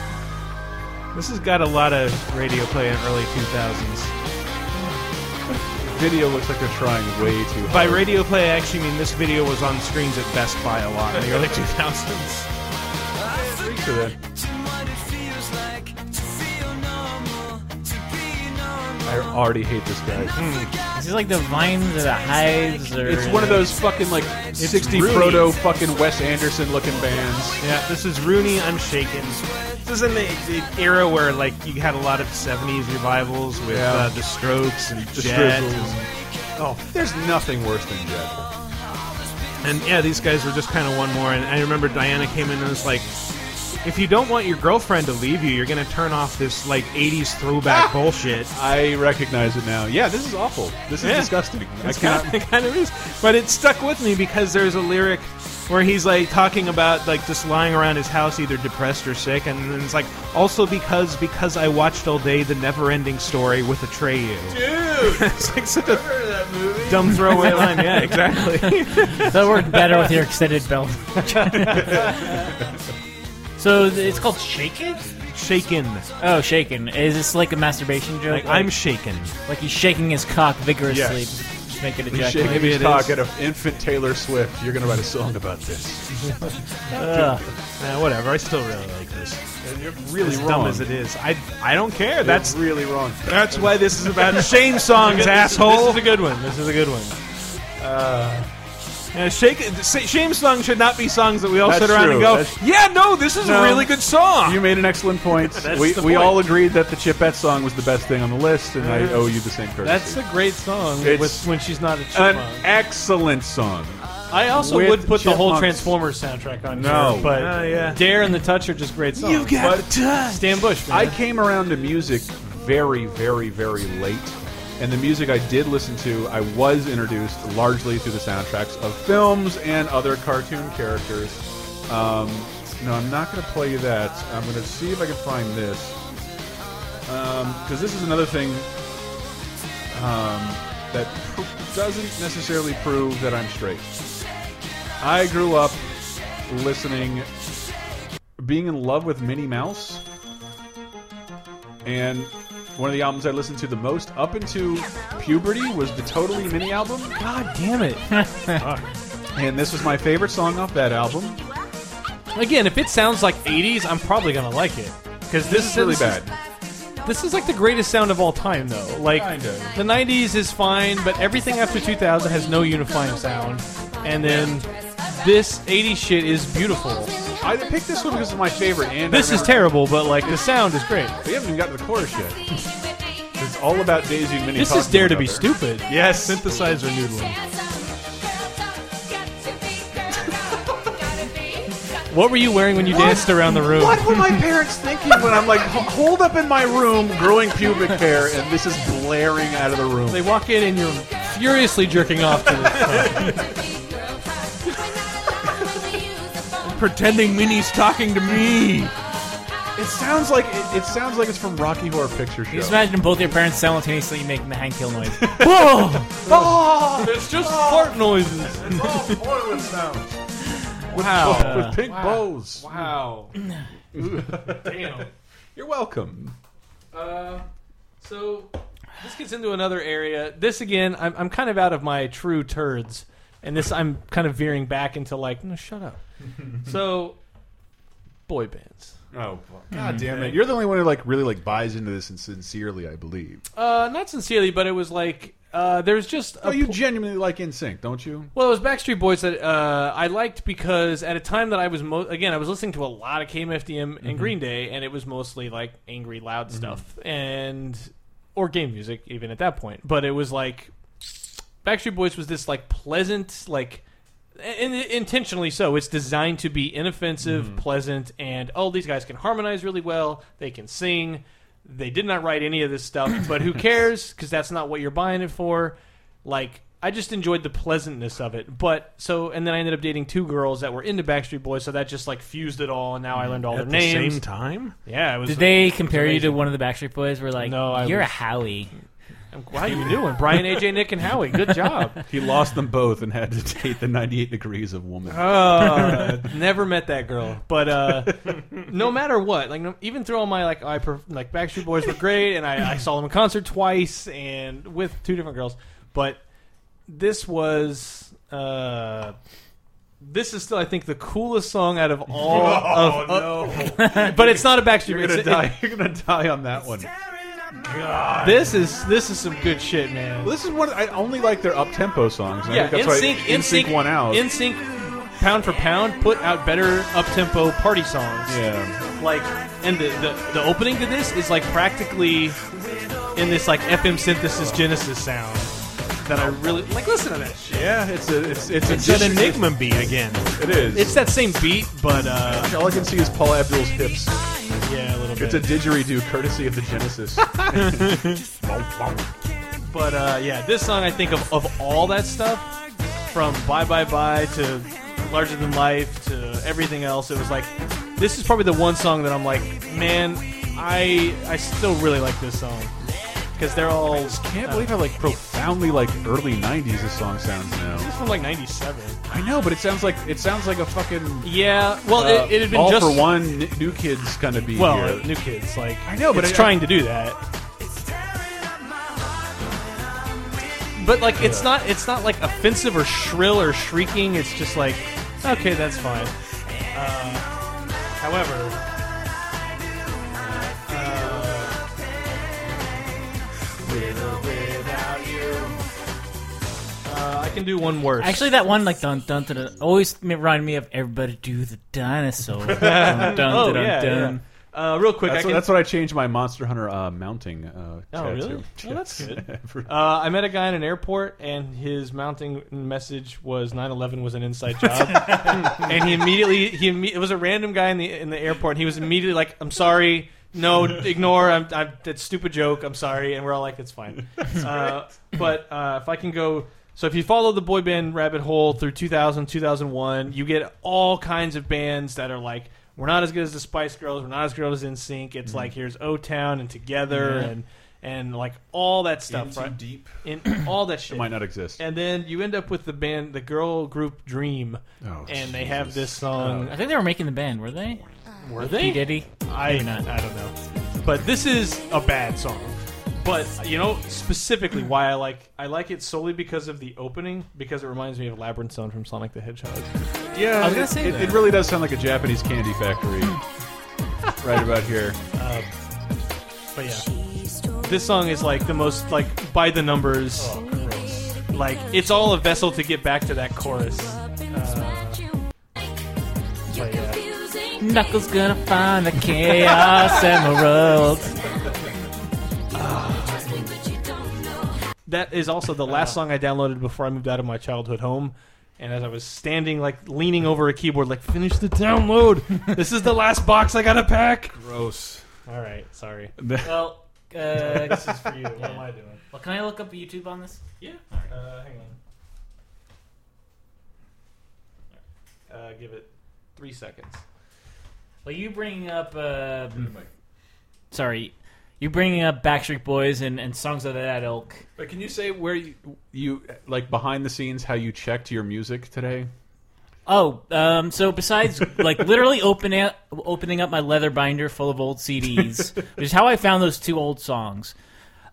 Speaker 6: This has got a lot of radio play in early 2000s.
Speaker 3: Video looks like they're trying way too hard.
Speaker 6: By radio play, I actually mean this video was on screens at Best Buy a lot in the early 2000s.
Speaker 3: So then, I already hate this guy.
Speaker 4: Is this like the vines or the hives or?
Speaker 3: It's one of those fucking like sixty
Speaker 6: Rooney.
Speaker 3: proto fucking Wes Anderson looking bands.
Speaker 6: Yeah, this is Rooney Unshaken. This is in the, the era where like you had a lot of 70s revivals with
Speaker 3: Yeah.
Speaker 6: uh, the Strokes and
Speaker 3: The
Speaker 6: Jet.
Speaker 3: Strizzles. Oh, there's nothing worse than Jet.
Speaker 6: And yeah, these guys were just kind of one more. And I remember Diana came in and was like, if you don't want your girlfriend to leave you, you're going to turn off this like 80s throwback bullshit.
Speaker 3: I recognize it now. Yeah, this is awful. This is
Speaker 6: Yeah.
Speaker 3: disgusting. I
Speaker 6: It's
Speaker 3: cannot.
Speaker 6: kind of, kind of is. But it stuck with me because there's a lyric where he's like talking about like just lying around his house either depressed or sick and then it's like also because because I watched all day the never ending story with Atreyu. Dude it's like such a
Speaker 2: that movie.
Speaker 6: dumb throwaway line. Yeah, exactly.
Speaker 4: that worked better with your extended belt. so th- it's called shaken.
Speaker 6: shaken.
Speaker 4: Oh, shaken. Is this like a masturbation joke?
Speaker 6: Like I'm shaken.
Speaker 4: like he's shaking his cock vigorously,
Speaker 3: Yes.
Speaker 4: to make it
Speaker 3: You
Speaker 4: ejaculate.
Speaker 3: shake
Speaker 6: Maybe
Speaker 3: his
Speaker 6: it
Speaker 3: cock
Speaker 6: is.
Speaker 3: at an infant Taylor Swift. You're gonna write a song about this.
Speaker 4: Ugh.
Speaker 6: Eh, whatever, I still really like this.
Speaker 3: And you're really
Speaker 6: As
Speaker 3: wrong.
Speaker 6: dumb as it is. I I don't care. That's
Speaker 3: That's really wrong.
Speaker 6: that's why this is about shame songs,
Speaker 5: This
Speaker 6: asshole.
Speaker 5: is a good one. This is a good one.
Speaker 6: Yeah, Uh, shake, say- shame songs should not be songs that we all
Speaker 3: That's
Speaker 6: sit around
Speaker 3: true.
Speaker 6: and go,
Speaker 3: That's-
Speaker 6: yeah, no, this is
Speaker 3: No.
Speaker 6: a really good song.
Speaker 3: You made an excellent point. we
Speaker 6: the
Speaker 3: we
Speaker 6: point.
Speaker 3: all agreed that the Chipette song was the best thing on the list, and I owe you the same courtesy.
Speaker 5: That's a great song
Speaker 3: It's
Speaker 5: with when she's not a chipmunk.
Speaker 3: an excellent song.
Speaker 5: I also
Speaker 3: with
Speaker 5: would put the whole
Speaker 3: chipmunks.
Speaker 5: Transformers soundtrack on
Speaker 3: No.
Speaker 5: here, but
Speaker 6: Oh, yeah.
Speaker 5: Dare and the Touch are just great songs.
Speaker 6: got touch.
Speaker 5: Stan Bush, man.
Speaker 3: I came around to music very, very, very late. And the music I did listen to, I was introduced largely through the soundtracks of films and other cartoon characters. Um, no, I'm not going to play you that. I'm going to see if I can find this. Because this is another thing um, that pr- doesn't necessarily prove that I'm straight. I grew up listening, being in love with Minnie Mouse and one of the albums I listened to the most up into puberty was the Totally Mini album.
Speaker 5: God damn it.
Speaker 3: And this was my favorite song off that album.
Speaker 5: Again, if it sounds like 80s, I'm probably going to like it. Because this,
Speaker 3: It's really
Speaker 5: is-
Speaker 3: bad.
Speaker 5: This is like the greatest sound of all time, though. Like,
Speaker 3: Kinda.
Speaker 5: the 90s is fine, but everything after 2000 has no unifying sound. And then this 80s shit is beautiful.
Speaker 3: I picked this one because it's my favorite. And I
Speaker 5: This is
Speaker 3: remember-
Speaker 5: terrible, but like the sound is great.
Speaker 3: We haven't even gotten to the chorus yet. It's all about Daisy and Minnie.
Speaker 5: This is
Speaker 3: talking
Speaker 5: Dare
Speaker 3: to
Speaker 5: to Be
Speaker 3: each other.
Speaker 5: Stupid.
Speaker 6: Yes. Synthesizer noodling.
Speaker 5: What were you wearing when you danced around the room?
Speaker 3: What were my parents thinking when I'm like h- holed up in my room, growing pubic hair, and this is blaring out of the room?
Speaker 5: They walk in and you're furiously jerking off to this.
Speaker 6: Pretending Minnie's talking to me.
Speaker 3: It sounds like it, it sounds like it's from Rocky Horror Picture Show.
Speaker 4: Just imagine both your parents simultaneously making the hand kill noise.
Speaker 5: it's just fart noises.
Speaker 3: Portland sounds
Speaker 5: Wow.
Speaker 3: with pink bows.
Speaker 5: Wow. Damn.
Speaker 3: You're welcome.
Speaker 5: Uh, so This gets into another area. This again, I'm, I'm kind of out of my true turds, and this I'm kind of veering back into like, no, shut up. so, boy bands.
Speaker 3: Oh,
Speaker 2: God
Speaker 5: Mm-hmm.
Speaker 2: damn it!
Speaker 3: You're the only one who like really like buys into this and sincerely, I believe.
Speaker 5: Uh, not sincerely, but it was like uh, there's just a
Speaker 3: Oh, you
Speaker 5: po-
Speaker 3: genuinely like In Sync, don't you?
Speaker 5: Well, it was Backstreet Boys that uh, I liked because at a time that I was mo- again I was listening to a lot of KMFDM and Green Day, and it was mostly like angry, loud stuff and or game music even at that point. But it was like Backstreet Boys was this like pleasant like. And intentionally so. It's designed to be inoffensive,
Speaker 6: Mm-hmm.
Speaker 5: pleasant, and oh, these guys can harmonize really well. They can sing. They did not write any of this stuff, but who cares? Because that's not what you're buying it for like I just enjoyed the pleasantness of it. But so and then I ended up dating two girls that were into Backstreet Boys, so that just like fused it all and now I learned all
Speaker 6: Mm-hmm. At
Speaker 5: their
Speaker 6: the
Speaker 5: names.
Speaker 6: same time?
Speaker 5: Yeah, it was
Speaker 4: Did they
Speaker 5: it was
Speaker 4: compare you to
Speaker 5: amazing.
Speaker 4: one of the Backstreet Boys? We're like,
Speaker 5: No, I
Speaker 4: you're
Speaker 5: was-
Speaker 4: a Howie.
Speaker 5: I'm- Wow, you knew him. Brian, AJ, Nick and Howie. Good job.
Speaker 3: He lost them both and had to date the 98 degrees of woman.
Speaker 5: Uh, never met that girl, but uh, no matter what, like no, even through all my like, I pref- like Backstreet Boys were great, and I, I saw them in concert twice and with two different girls. But this was uh, this is still, I think, the coolest song out of all. of,
Speaker 3: uh,
Speaker 5: no! but it's not a Backstreet.
Speaker 3: You're
Speaker 5: Boys.
Speaker 3: gonna
Speaker 5: It's-
Speaker 3: die. You're gonna die on that one.
Speaker 5: it- this is this is some good shit, man.
Speaker 3: Well, this is one I only like their up tempo songs. and I
Speaker 5: Yeah,
Speaker 3: think that's why
Speaker 5: NSYNC,
Speaker 3: NSYNC won out.
Speaker 5: In sync, pound for pound, put out better up tempo party songs.
Speaker 3: yeah,
Speaker 5: like and the, the the opening to this is like practically in this like FM synthesis Genesis sound that I really like. Listen to that shit.
Speaker 3: yeah, it's a, it's it's,
Speaker 6: It's an Enigma beat again.
Speaker 3: It is.
Speaker 5: It's that same beat, but uh,
Speaker 3: all I can see is Paul Abdul's hips.
Speaker 5: yeah, a little
Speaker 3: It's
Speaker 5: bit.
Speaker 3: a didgeridoo, courtesy of the Genesis.
Speaker 5: but uh, yeah, this song I think of of all that stuff from Bye Bye Bye to Larger Than Life to everything else. It was like this is probably the one song that I'm like, man, I I still really like this song because they're all uh,
Speaker 3: Can't believe how like profoundly like early '90s this song sounds now.
Speaker 5: from like '97.
Speaker 3: I know, but it sounds like it sounds like a fucking
Speaker 5: Yeah, well,
Speaker 3: uh,
Speaker 5: it, it had been
Speaker 3: all
Speaker 5: just
Speaker 3: for one N- new kids kind of be
Speaker 5: Well,
Speaker 3: here.
Speaker 5: uh, new kids, like
Speaker 3: I know, but
Speaker 5: it's
Speaker 3: I-
Speaker 5: trying to do that. But like, it's not it's not like offensive or shrill or shrieking. It's just like, okay, that's fine. Uh, however, uh, with or without you, uh, I can do one worse.
Speaker 4: Actually, that one like dun dun dun, dun always reminded me of everybody do the dinosaur. dun, dun, dun,
Speaker 5: oh
Speaker 4: dun,
Speaker 5: yeah,
Speaker 4: dun.
Speaker 5: yeah. Uh, real quick, I
Speaker 3: That's,
Speaker 5: can,
Speaker 3: what, that's what I changed my Monster Hunter uh, mounting. Uh,
Speaker 5: Oh,
Speaker 3: tattoo.
Speaker 5: really? Oh, that's
Speaker 3: Yes.
Speaker 5: good.
Speaker 3: For-
Speaker 5: Uh, I met a guy in an airport, and his mounting message was 9/11 was an inside job, and he immediately he imme- it was a random guy in the in the airport. And he was immediately like, "I'm sorry, no, ignore. I'm, I'm that stupid joke. I'm sorry." And we're all like, "It's fine." Uh, but uh, if I can go. So if you follow the boy band rabbit hole through 2000, 2001, you get all kinds of bands that are like, we're not as good as the Spice Girls, we're not as good as In Sync.
Speaker 3: Mm-hmm.
Speaker 5: It's like here's O Town and Together and and like all that stuff, right?
Speaker 3: deep.
Speaker 5: and all that shit.
Speaker 3: It might not exist.
Speaker 5: And then you end up with the band, the girl group Dream,
Speaker 3: Oh,
Speaker 5: and they have this song.
Speaker 4: Um, I think they were making the band, were they?
Speaker 5: Were
Speaker 4: P
Speaker 5: they?
Speaker 4: Diddy.
Speaker 5: I I don't know, but this is a bad song. But you know specifically why I like I like it solely because of the opening because it reminds me of Labyrinth Zone from Sonic the Hedgehog.
Speaker 3: yeah,
Speaker 4: I was gonna
Speaker 3: it,
Speaker 4: say
Speaker 3: it,
Speaker 4: that.
Speaker 3: it really does sound like a Japanese candy factory, right about here.
Speaker 5: But yeah, this song is like the most like by the numbers. like it's all a vessel to get back to that chorus.
Speaker 6: Oh,
Speaker 5: But yeah.
Speaker 4: Knuckles gonna find the chaos emerald.
Speaker 5: that is also the last song I downloaded before I moved out of my childhood home. And as I was standing, like leaning over a keyboard, like finish the download. this is the last box I gotta pack.
Speaker 3: Gross.
Speaker 5: All right, sorry.
Speaker 4: well, uh,
Speaker 5: This is for you. What am I doing?
Speaker 4: well, can I look up YouTube on this?
Speaker 5: Yeah. Uh, hang on. Uh, give it three seconds.
Speaker 4: Well, you bringing up, um, sorry, you bringing up Backstreet Boys and, and songs of that ilk.
Speaker 3: But can you say where you, you like behind the scenes how you checked your music today?
Speaker 4: Oh, um, so besides like literally opening up, opening up my leather binder full of old CDs, which is how I found those two old songs.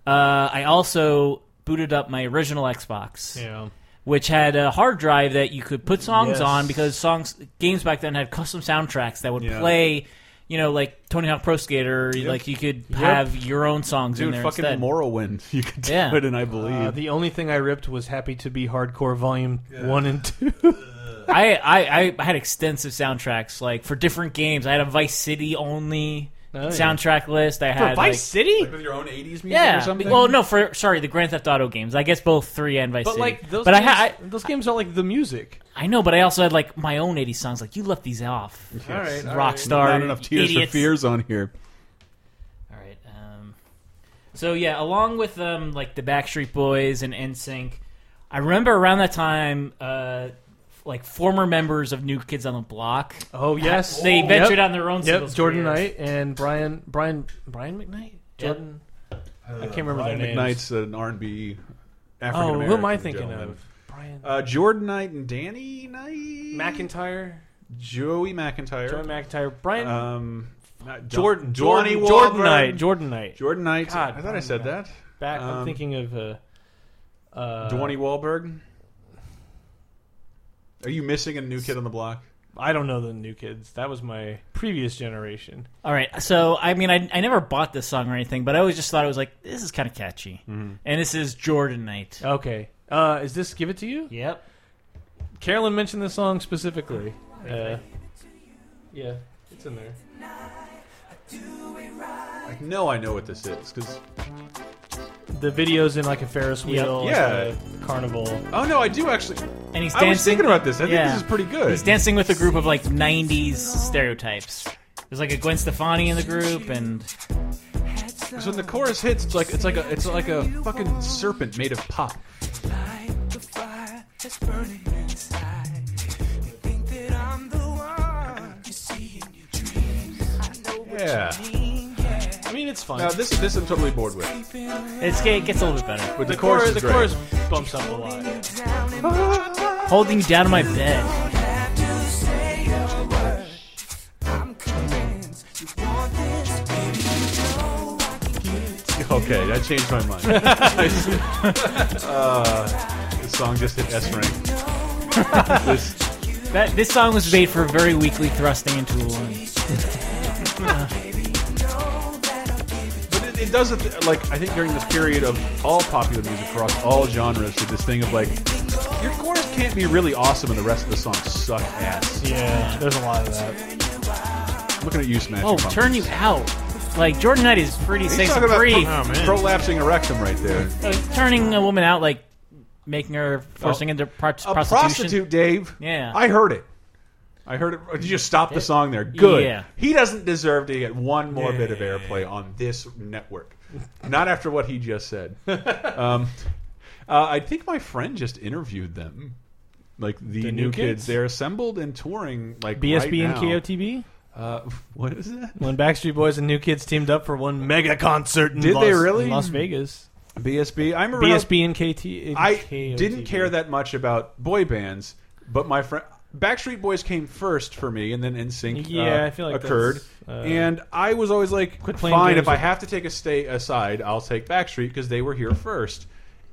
Speaker 4: Uh, I also booted up my original Xbox,
Speaker 5: Yeah.
Speaker 4: which had a hard drive that you could put songs
Speaker 5: Yes.
Speaker 4: on because songs games back then had custom soundtracks that would
Speaker 3: Yeah.
Speaker 4: play. You know, like Tony Hawk Pro Skater, like you could have your own songs in
Speaker 3: Dude,
Speaker 4: there
Speaker 3: fucking
Speaker 4: instead.
Speaker 3: Morrowind. You could do
Speaker 4: Yeah.
Speaker 3: it, and I believe.
Speaker 5: Uh, the only thing I ripped was "Happy to Be Hardcore" Volume One and Two.
Speaker 4: I, I, I had extensive soundtracks like for different games. I had a Vice City only
Speaker 5: Oh, yeah.
Speaker 4: soundtrack list. I had
Speaker 5: Vice
Speaker 4: like,
Speaker 5: City,
Speaker 3: with your own 80s music or
Speaker 4: Yeah.
Speaker 3: something?
Speaker 4: Well, no, for sorry, the Grand Theft Auto games. I guess both three and Vice
Speaker 5: but
Speaker 4: City.
Speaker 5: like those.
Speaker 4: but I,
Speaker 5: games,
Speaker 4: ha-
Speaker 5: those games are like the music.
Speaker 4: I I know, but I also had like my own '80s songs. Like you left these off,
Speaker 5: All right, all right.
Speaker 4: Rockstar.
Speaker 3: Not enough tears
Speaker 4: idiots.
Speaker 3: for fears on here.
Speaker 4: All right. Um, so yeah, along with um, like the Backstreet Boys and NSYNC, I remember around that time, uh, like former members of New Kids on the Block,
Speaker 5: Oh yes,
Speaker 4: they
Speaker 5: Yep.
Speaker 4: ventured on their own.
Speaker 5: Yep,
Speaker 4: singles
Speaker 5: Jordan
Speaker 4: careers.
Speaker 5: Knight and Brian Brian Brian McKnight. Jordan, I can't remember
Speaker 3: Brian
Speaker 5: their names.
Speaker 3: McKnight's an R&B African
Speaker 5: Oh,
Speaker 3: American.
Speaker 5: who am I thinking
Speaker 3: gentleman.
Speaker 5: of? Brian
Speaker 3: Uh, Jordan Knight and Danny Knight,
Speaker 5: McIntyre,
Speaker 3: Joey McIntyre,
Speaker 5: Jordan McIntyre, Brian
Speaker 3: um, not
Speaker 5: Jordan,
Speaker 3: Don-
Speaker 5: Jordan,
Speaker 3: Johnny
Speaker 5: Jordan
Speaker 3: Walburn.
Speaker 5: Knight, Jordan Knight.
Speaker 3: Jordan Knight.
Speaker 5: God,
Speaker 3: I thought
Speaker 5: Brian
Speaker 3: I said
Speaker 5: McKnight.
Speaker 3: that.
Speaker 5: Back,
Speaker 3: Um,
Speaker 5: I'm thinking of uh, uh,
Speaker 3: Dwayne Wahlberg. Are you missing a new kid on the block?
Speaker 5: I don't know the new kids. That was my previous generation.
Speaker 4: All right, so I mean, I, I never bought this song or anything, but I always just thought it was like this is kind of catchy,
Speaker 3: Mm-hmm.
Speaker 4: and this is Jordan Knight.
Speaker 5: Okay, uh, is this "Give It to You"?
Speaker 4: Yep.
Speaker 5: Carolyn mentioned this song specifically. Uh, yeah, it's in there.
Speaker 3: I know I know what this is because
Speaker 5: The video's in like a Ferris wheel,
Speaker 3: Yep. Yeah.
Speaker 5: yeah, carnival.
Speaker 3: oh no, I do actually.
Speaker 4: And he's
Speaker 3: I
Speaker 4: dancing.
Speaker 3: was thinking about this. I
Speaker 4: Yeah.
Speaker 3: think this is pretty good.
Speaker 4: He's dancing with a group of like '90s stereotypes. There's like a Gwen Stefani in the group, and
Speaker 3: Because when the chorus hits, it's like it's like a it's like a fucking serpent made of pop. Yeah.
Speaker 5: I mean, it's fun.
Speaker 3: Now this this I'm totally bored with.
Speaker 4: it's, it gets a little bit better.
Speaker 3: But the,
Speaker 5: the chorus,
Speaker 3: is
Speaker 5: the
Speaker 3: great.
Speaker 5: chorus bumps up a lot.
Speaker 4: Holding you down in my bed.
Speaker 3: Okay, that changed my mind. uh, this Uh, song just hit S rank. this,
Speaker 4: That this song was made for very weakly thrusting into a woman.
Speaker 3: But it, it does, a th- like, I think during this period of all popular music across all genres, did this thing of, like, your chorus can't be really awesome and the rest of the song suck ass.
Speaker 5: Yeah, there's a lot of that.
Speaker 3: I'm looking at you, Smash.
Speaker 4: Oh,
Speaker 3: Your Pumpkins.
Speaker 4: turn you out. Like Jordan Knight is pretty
Speaker 3: He's
Speaker 4: safe
Speaker 3: talking about
Speaker 4: free.
Speaker 3: pro- prolapsing erectum right there.
Speaker 4: Turning a woman out, like making her forcing into pro-
Speaker 3: Oh. A
Speaker 4: prostitution.
Speaker 3: prostitute, Dave.
Speaker 4: Yeah.
Speaker 3: I heard it. I heard it. Did you stop the song there? Good.
Speaker 4: Yeah.
Speaker 3: He doesn't deserve to get one more bit of airplay on this network. Not after what he just said. um, uh, I think my friend just interviewed them. Like the, new,
Speaker 5: New
Speaker 3: kids.
Speaker 5: Kids?
Speaker 3: they're assembled and touring. Like
Speaker 5: BSB
Speaker 3: right
Speaker 5: and
Speaker 3: now.
Speaker 5: KOTB.
Speaker 3: Uh, what is that?
Speaker 5: When Backstreet Boys and New Kids teamed up for one mega concert in,
Speaker 3: Did
Speaker 5: Las,
Speaker 3: they really?
Speaker 5: in Las Vegas.
Speaker 3: BSB. I remember. how-
Speaker 5: BSB and KT.
Speaker 3: I
Speaker 5: KOTB.
Speaker 3: didn't care that much about boy bands, but my friend Backstreet Boys came first for me, and then NSYNC
Speaker 5: Yeah,
Speaker 3: uh,
Speaker 5: I feel like
Speaker 3: occurred.
Speaker 5: that's, uh,
Speaker 3: and I was always like,
Speaker 5: Quit playing
Speaker 3: fine,
Speaker 5: games
Speaker 3: if I
Speaker 5: with-
Speaker 3: have to take a stay aside, I'll take Backstreet because they were here first.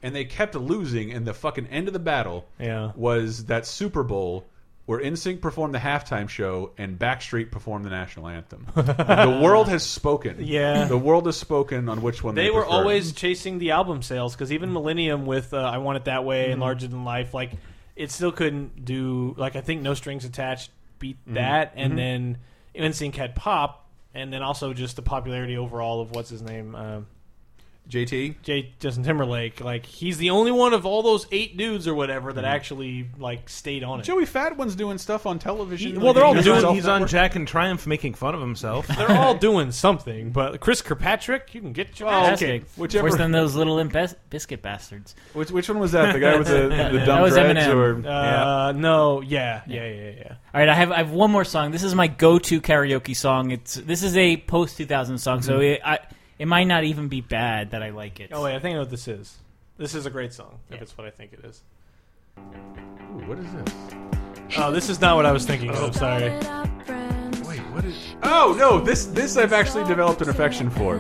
Speaker 3: And they kept losing, and the fucking end of the battle
Speaker 5: Yeah.
Speaker 3: was that Super Bowl where NSYNC performed the halftime show and Backstreet performed the national anthem. the world has spoken.
Speaker 5: Yeah.
Speaker 3: the world has spoken on which one they,
Speaker 5: They were
Speaker 3: prefer.
Speaker 5: always chasing the album sales because even Millennium with uh, "I Want It That Way" and "Larger Than Life," like it still couldn't do. Like I think "No Strings Attached" beat that, and then NSYNC had "Pop," and then also just the popularity overall of what's his name, um,
Speaker 3: JT.
Speaker 5: J. Justin Timberlake. Like he's the only one of all those eight dudes or whatever that actually like stayed on it.
Speaker 3: Joey Fatwin's doing stuff on television.
Speaker 5: Well, they're all
Speaker 6: He's
Speaker 5: doing-
Speaker 6: on, he's on Jack and Triumph making fun of himself.
Speaker 5: They're all doing something, but Chris Kirkpatrick, you can get
Speaker 4: Oh,
Speaker 5: your ass
Speaker 4: Fantastic.
Speaker 5: kicked.
Speaker 3: Oh, whichever-
Speaker 4: Worse than those little imp- biscuit bastards.
Speaker 3: Which, which one was that? The guy with the, the
Speaker 4: That
Speaker 3: dumb
Speaker 4: was
Speaker 3: dreads,
Speaker 4: Eminem.
Speaker 3: or
Speaker 5: Uh, No, yeah, yeah, yeah, yeah.
Speaker 4: All right, I have I have one more song. This is my go-to karaoke song. It's this is a post 2000 song,
Speaker 3: Mm-hmm.
Speaker 4: so it, I, it might not even be bad that I like it.
Speaker 5: Oh wait, I think I know what this is. This is a great song. If it's what I think it is.
Speaker 3: Ooh, what is this?
Speaker 5: Oh, this is not what I was thinking. of. Sorry.
Speaker 3: Oh, Wait, what is? Oh no, this this I've actually developed an affection for.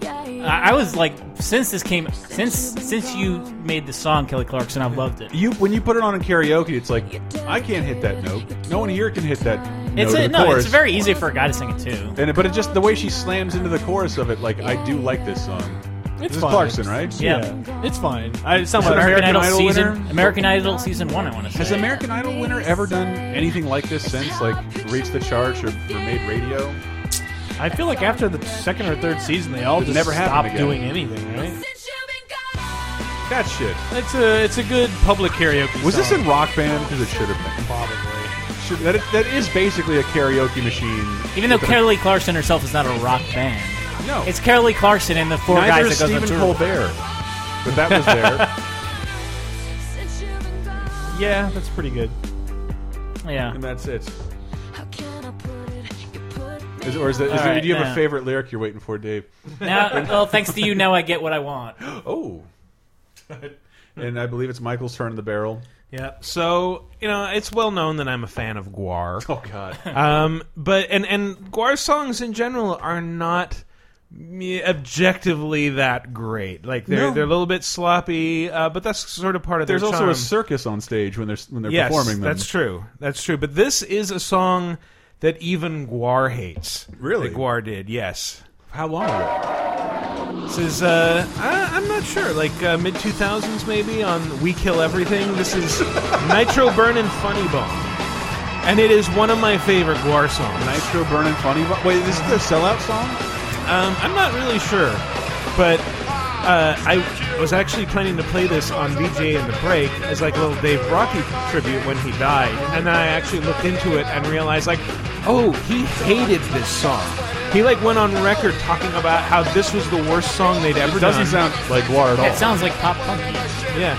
Speaker 4: Uh, I, I was like, since this came, since since you made the song, Kelly Clarkson, I've loved it.
Speaker 3: You when you put it on in karaoke, it's like I can't hit that note. No one here can hit that.
Speaker 4: It's
Speaker 3: note
Speaker 4: a,
Speaker 3: of the
Speaker 4: no,
Speaker 3: chorus.
Speaker 4: it's very easy for a guy to sing it too.
Speaker 3: And it, but it just the way she slams into the chorus of it, like I do like this song.
Speaker 5: It's
Speaker 3: this is
Speaker 5: fine.
Speaker 3: Clarkson, right?
Speaker 4: Yeah.
Speaker 5: It's fine. I, it's not
Speaker 3: Is it
Speaker 5: my
Speaker 4: American, Idol,
Speaker 3: Idol
Speaker 4: season
Speaker 3: winner?
Speaker 4: American Idol season one. I want to
Speaker 3: Has
Speaker 4: say.
Speaker 3: American Idol winner ever done anything like this since, like reached the charts or, or made radio?
Speaker 5: I feel like after the second or third season, they all
Speaker 3: It
Speaker 5: just
Speaker 3: never
Speaker 5: stop
Speaker 3: happened again.
Speaker 5: doing anything, right?
Speaker 3: That shit.
Speaker 5: It's a it's a good public karaoke.
Speaker 3: Was this
Speaker 5: song.
Speaker 3: in Rock Band? Because it should have been.
Speaker 5: probably?
Speaker 3: Should, that, that is basically a karaoke machine.
Speaker 4: Even though
Speaker 3: with a-
Speaker 4: Kelly Clarkson herself is not a rock band,
Speaker 3: no,
Speaker 4: it's Kelly Clarkson and the four
Speaker 3: neither
Speaker 4: guys
Speaker 3: is
Speaker 4: that goes
Speaker 3: Stephen
Speaker 4: on tour.
Speaker 3: Colbert, but that was there.
Speaker 5: Yeah, that's pretty good.
Speaker 4: Yeah.
Speaker 3: and that's it. Is, or is that? Is
Speaker 4: All
Speaker 3: there-
Speaker 4: right,
Speaker 3: do you have
Speaker 4: yeah.
Speaker 3: a favorite lyric you're waiting for, Dave?
Speaker 4: Now, well, thanks to you, now I get what I want.
Speaker 3: Oh, and I believe it's Michael's turn in the barrel.
Speaker 6: Yeah. So you know, it's well known that I'm a fan of Guar.
Speaker 3: Oh God,
Speaker 6: Um, but and and Guar songs in general are not me- objectively that great. Like they're
Speaker 3: No.
Speaker 6: they're a little bit sloppy, uh, but that's sort of part of
Speaker 3: there's
Speaker 6: their
Speaker 3: also
Speaker 6: charm.
Speaker 3: a circus on stage when they're when they're
Speaker 6: yes,
Speaker 3: performing them.
Speaker 6: that's true. That's true. But this is a song that even Guar hates.
Speaker 3: Really?
Speaker 6: that Guar did. Yes.
Speaker 3: How long? ago?
Speaker 6: This is uh, I, I'm not sure, like uh, mid 2000s maybe on We Kill Everything. This is Nitro Burnin' Funny Bone, and it is one of my favorite Guar songs.
Speaker 3: Nitro Burning Funny. Bo- Wait, this is their sellout song?
Speaker 6: Um, I'm not really sure, but uh, I was actually planning to play this on VJ in the break as like a little Dave Rocky tribute when he died, and then I actually looked into it and realized like, oh, he hated this song. He like went on record talking about how this was the worst song they'd ever
Speaker 3: It doesn't
Speaker 6: done.
Speaker 3: sound like Guar at all.
Speaker 4: It sounds like pop punk.
Speaker 6: yeah.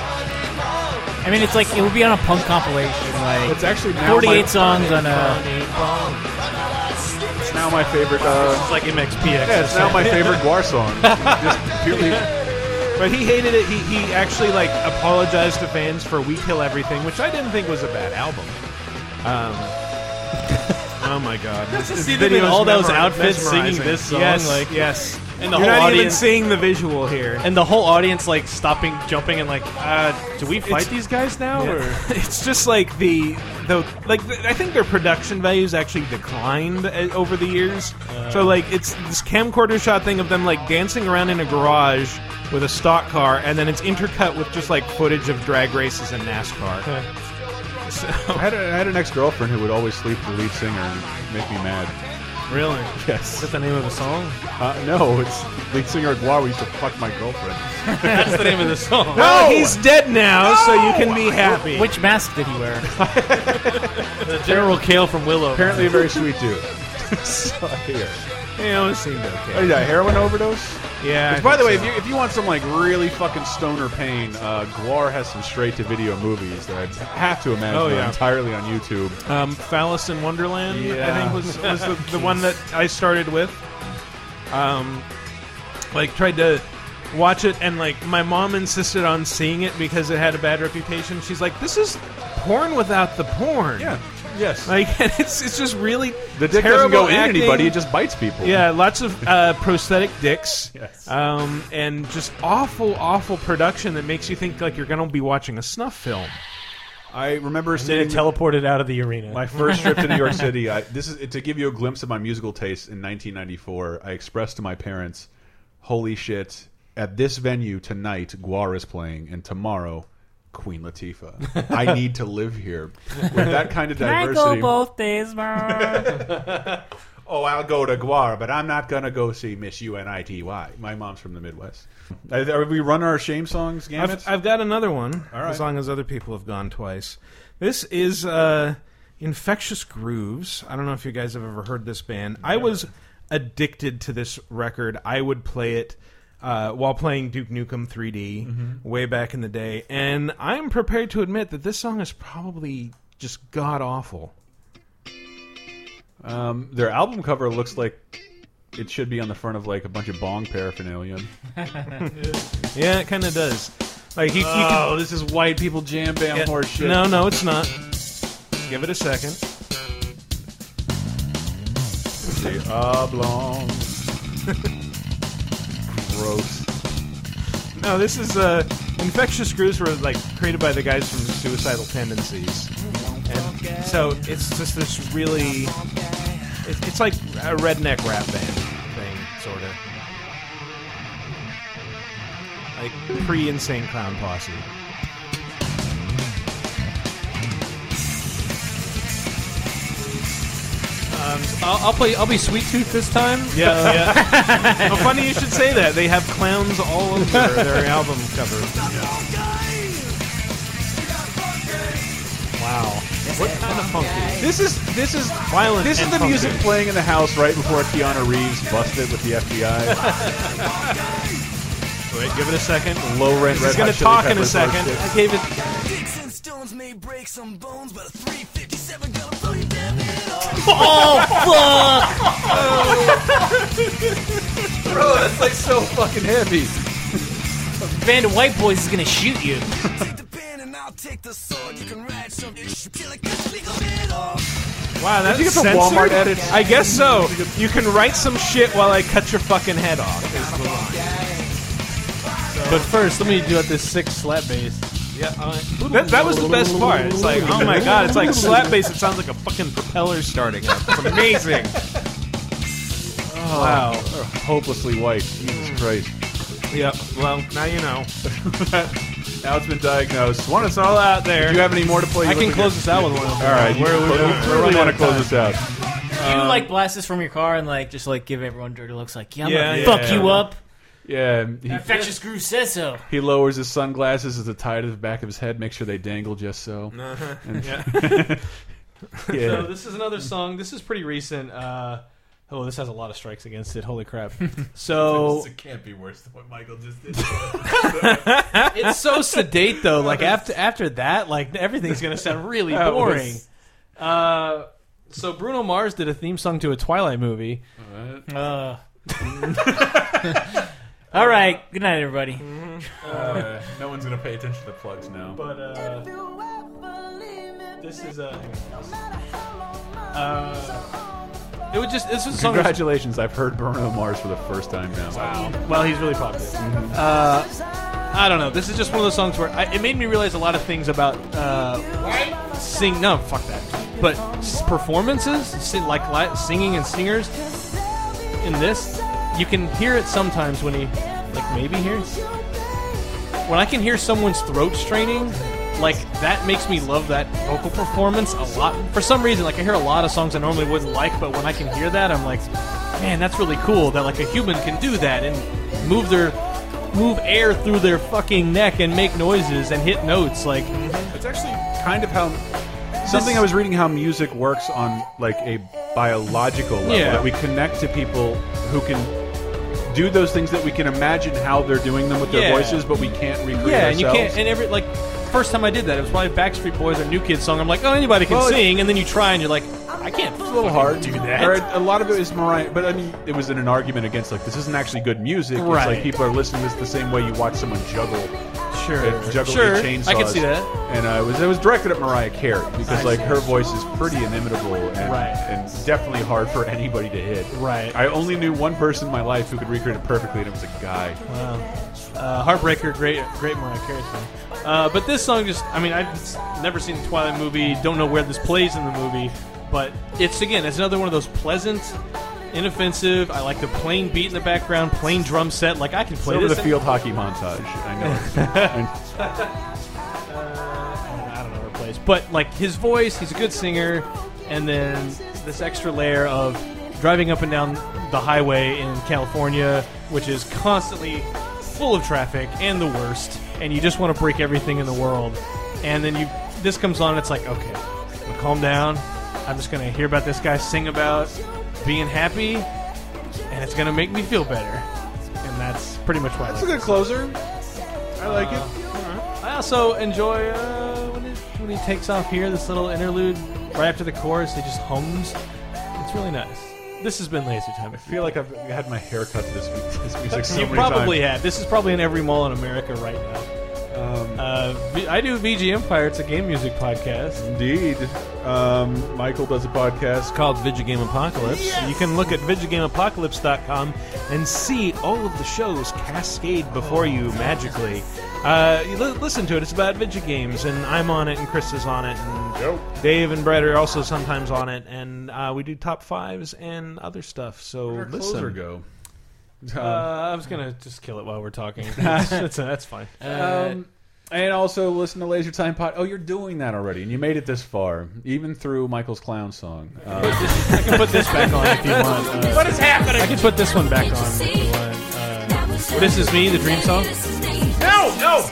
Speaker 4: I mean, it's like it would be on a punk compilation, like
Speaker 3: It's actually now
Speaker 4: 48
Speaker 3: my-
Speaker 4: songs on a.
Speaker 3: It's now my favorite. Uh,
Speaker 5: It's like MXPX.
Speaker 3: yeah, it's now my favorite Guar song. Just purely.
Speaker 6: But he hated it. He, he actually like apologized to fans for We Kill Everything, which I didn't think was a bad album. Um, oh my god! This,
Speaker 5: Just
Speaker 6: this
Speaker 5: see them in
Speaker 6: video is
Speaker 5: all those
Speaker 6: memori-
Speaker 5: outfits singing
Speaker 6: mesmerizing.
Speaker 5: this song,
Speaker 6: Yes,
Speaker 5: like-
Speaker 6: yes.
Speaker 5: and the
Speaker 6: You're
Speaker 5: whole
Speaker 6: not even
Speaker 5: audience-
Speaker 6: seeing the visual here.
Speaker 5: and the whole audience like stopping, jumping, and like, uh, do we fight
Speaker 6: It's-
Speaker 5: these guys now? Or
Speaker 6: it's just like the the like th- I think their production values actually declined uh, over the years.
Speaker 5: Oh.
Speaker 6: so like it's this camcorder shot thing of them like dancing around in a garage with a stock car, and then it's intercut with just like footage of drag races and NASCAR.
Speaker 3: I had, a, I had an ex girlfriend who would always sleep with the lead singer and make me mad.
Speaker 6: Really?
Speaker 3: Yes.
Speaker 5: the name of the song?
Speaker 3: Uh, no, it's lead singer at Guar. We used to fuck my girlfriend.
Speaker 5: That's the name of the song.
Speaker 6: Well, Oh, he's dead now, so you can be happy.
Speaker 4: Which mask did he wear?
Speaker 5: the General Kale from Willow.
Speaker 3: Apparently, a very sweet dude. so here.
Speaker 6: Yeah, it seemed
Speaker 5: Uh,
Speaker 3: Oh,
Speaker 6: okay.
Speaker 3: yeah, heroin overdose.
Speaker 6: Yeah. I
Speaker 3: Which, by the
Speaker 6: think
Speaker 3: way,
Speaker 6: so.
Speaker 3: if you, if you want some like really fucking stoner pain, uh, Guar has some straight to video movies that I have to imagine
Speaker 6: Oh,
Speaker 3: are
Speaker 6: yeah.
Speaker 3: entirely on YouTube.
Speaker 6: um, Phallus in Wonderland, I
Speaker 3: Yeah.
Speaker 6: think was, was the, the one that I started with. Um, like tried to watch it, and like my mom insisted on seeing it because it had a bad reputation. She's like, "This is porn without the porn."
Speaker 3: Yes.
Speaker 6: Like it's it's just really
Speaker 3: the dick doesn't
Speaker 6: terrible
Speaker 3: go in
Speaker 6: acting.
Speaker 3: anybody; it just bites people.
Speaker 6: Yeah, lots of uh, prosthetic dicks.
Speaker 3: Yes.
Speaker 6: Um, and just awful, awful production that makes you think like you're going to be watching a snuff film.
Speaker 3: I remember
Speaker 5: Did
Speaker 3: seeing
Speaker 5: it teleported out of the arena?
Speaker 3: my first trip to New York City. I, this is to give you a glimpse of my musical taste. In 1994, I expressed to my parents, "Holy shit! At this venue tonight, Guar is playing, and tomorrow." Queen Latifah. I need to live here with that kind of diversity.
Speaker 4: days, bro?
Speaker 3: oh, I'll go to Guar, but I'm not gonna go see Miss UNITY. My mom's from the Midwest. Are, are we run our shame songs gamut?
Speaker 6: I've, I've got another one,
Speaker 3: right.
Speaker 6: as long as other people have gone twice. This is uh, Infectious Grooves. I don't know if you guys have ever heard this band. I was addicted to this record. I would play it uh, while playing Duke Nukem 3D
Speaker 3: Mm-hmm.
Speaker 6: way back in the day, and I'm prepared to admit that this song is probably just god awful.
Speaker 3: um, their album cover looks like it should be on the front of like a bunch of bong paraphernalia.
Speaker 6: Yeah, it kind of does. Like you, you can
Speaker 3: Oh, this is white people jam bam
Speaker 6: Yeah.
Speaker 3: horse shit.
Speaker 6: No, no, it's not. Give it a second.
Speaker 3: The oblong. Gross.
Speaker 6: No, this is uh, infectious grooves were like created by the guys from Suicidal Tendencies, and so it's just this really, it, it's like a redneck rap band thing, sort of, like pre-insane clown posse.
Speaker 5: I'll, I'll play. I'll be Sweet Tooth this time.
Speaker 6: Yeah, yeah. well, funny you should say that. They have clowns all over their album cover. Wow. What kind of funky?
Speaker 3: This is this is
Speaker 6: Violent.
Speaker 3: this is
Speaker 6: and
Speaker 3: the
Speaker 6: funky.
Speaker 3: music playing in the house right before Keanu Reeves busted with the FBI.
Speaker 6: Wait, give it a second.
Speaker 3: Low rent.
Speaker 6: He's
Speaker 3: Red
Speaker 6: gonna
Speaker 3: Hot Chili
Speaker 6: talk in a
Speaker 3: Peppers
Speaker 6: second.
Speaker 3: hosted.
Speaker 6: I gave it.
Speaker 8: Dicks and stones may break some bones, but a 357 gonna blow your damn head off.
Speaker 4: Oh fuck!
Speaker 3: Bro, that's like so fucking heavy.
Speaker 4: Band of white boys is gonna shoot you.
Speaker 8: Take the pen and I'll take the sword. You can write some issue. Kill a cut, legal head off.
Speaker 6: Wow, that's
Speaker 3: you get the
Speaker 6: censored?
Speaker 3: Walmart edits?
Speaker 6: I guess so. You can write some shit while I cut your fucking head off. is the line.
Speaker 5: But first, let me do out this sick slap bass.
Speaker 6: That, that was the best part. It's like, oh my god, it's like slap bass. It sounds like a fucking propeller starting up. It's amazing.
Speaker 3: Wow. They're hopelessly white. Jesus Christ.
Speaker 6: yep. Well, now you know.
Speaker 3: now it's been diagnosed. One is
Speaker 6: It's all out there.
Speaker 3: Do you have any more to play?
Speaker 5: I can
Speaker 3: Look
Speaker 5: close
Speaker 3: at-
Speaker 5: this out with one. Of
Speaker 3: All right, you can close- we really want to close this out.
Speaker 4: you like blast this from your car and like just like give everyone dirty looks like yeah, I'm
Speaker 6: Yeah,
Speaker 4: gonna
Speaker 6: yeah,
Speaker 4: fuck
Speaker 3: yeah.
Speaker 4: you up.
Speaker 3: Yeah, he,
Speaker 4: Infectious Groove says so.
Speaker 3: he lowers his sunglasses as the tie to the back of his head, make sure they dangle just so.
Speaker 5: So
Speaker 3: Yeah,
Speaker 5: this is another song. This is pretty recent. Uh, oh, this has a lot of strikes against it. Holy crap! So
Speaker 11: It can't be worse than what Michael just did.
Speaker 5: it's so sedate though. Like after after that, like everything's gonna sound really
Speaker 3: That was-
Speaker 5: boring. Uh, so Bruno Mars did a theme song to a Twilight movie.
Speaker 4: Uh. All right, good night, everybody.
Speaker 3: uh, no one's gonna pay attention to the plugs now.
Speaker 5: But uh, this is a. it would just. This was a song. that
Speaker 3: Congratulations, I've heard Bruno Mars for the first time now.
Speaker 5: was- Well, he's really popular. Uh, I don't know. This is just one of those songs where I, it made me realize a lot of things about uh, sing. No, fuck that. But s- performances, sing, like li- singing and singers, in this, you can hear it sometimes when he, like maybe here, when I can hear someone's throat straining, like that makes me love that vocal performance a lot. For some reason, like I hear a lot of songs I normally wouldn't like, but when I can hear that, I'm like, man, that's really cool that like a human can do that and move their move air through their fucking neck and make noises and hit notes like
Speaker 3: It's actually kind of how something I was reading how music works on like a biological level
Speaker 5: Yeah.
Speaker 3: that we connect to people who can do those things that we can imagine how they're doing them with their
Speaker 5: Yeah.
Speaker 3: voices, but we can't recreate
Speaker 5: yeah and
Speaker 3: ourselves.
Speaker 5: you can't and every like first time I did that it was probably Backstreet Boys or New Kids song I'm like oh anybody can
Speaker 3: Well, it-
Speaker 5: sing and then you try and you're like I can't
Speaker 3: a little hard
Speaker 5: do that.
Speaker 3: Or a lot of it is Mariah, but I mean, it was in an argument against like this isn't actually good music. It's like
Speaker 5: Right.
Speaker 3: people are listening to this the same way you watch someone juggle, uh, juggle
Speaker 5: sure
Speaker 3: eight chainsaws.
Speaker 5: I can see that
Speaker 3: And uh, it was it was directed at Mariah Carey because like her voice is pretty inimitable and,
Speaker 5: Right.
Speaker 3: and definitely hard for anybody to hit.
Speaker 5: Right.
Speaker 3: I only knew one person in my life who could recreate it perfectly, and it was a guy.
Speaker 5: Uh, Heartbreaker, great, great Mariah Carey song. Uh, but this song just—I mean, I've s- never seen the Twilight movie. Don't know where this plays in the movie, but it's again, it's another one of those pleasant, inoffensive. I like the plain beat in the background, plain drum set. Like I can play
Speaker 3: Over
Speaker 5: this.
Speaker 3: the
Speaker 5: in-
Speaker 3: field hockey montage. I know. And-
Speaker 5: I don't know where it plays, but like his voice—he's a good singer. And then this extra layer of driving up and down the highway in California, which is constantly full of traffic and the worst, and you just want to break everything in the world. And then you this comes on, it's like, okay, I'm gonna calm down. I'm just gonna hear about this guy sing about being happy, and it's gonna make me feel better. And that's pretty much why. I,
Speaker 3: It's a
Speaker 5: like it.
Speaker 3: good closer. I like it.
Speaker 5: I also enjoy uh, when, it, when he takes off here, this little interlude right after the chorus. He just hums. It's really nice. This has been Laser Time.
Speaker 3: I feel like I've had my hair cut to this, this music so
Speaker 5: you
Speaker 3: many
Speaker 5: probably
Speaker 3: times.
Speaker 5: have. This is probably in every mall in America right now.
Speaker 3: Um,
Speaker 5: Uh, Uh, V- I do VG Empire. It's a game music podcast.
Speaker 3: Indeed. Um, Michael does a podcast.
Speaker 6: called Vigigame Apocalypse. You can look at VigigameApocalypse.com and see all of the shows cascade before you magically. Uh, you li- listen to it. It's about Vigigames, and I'm on it, and Chris is on it, and Dave and Brett are also sometimes on it, and uh, we do top fives and other stuff. So
Speaker 3: Where'd our closer
Speaker 6: listen.
Speaker 3: go?
Speaker 5: Uh,
Speaker 3: Um,
Speaker 5: I was gonna just kill it while we're talking. that's, that's, that's fine.
Speaker 3: Um, and also listen to Laser Time Pod. Oh, you're doing that already, and you made it this far, even through Michael's clown song. Uh,
Speaker 5: I can put this back on if you want. Uh, what is happening? I can put this one back on if you want. Uh, this is me, the dream song.
Speaker 7: No, no.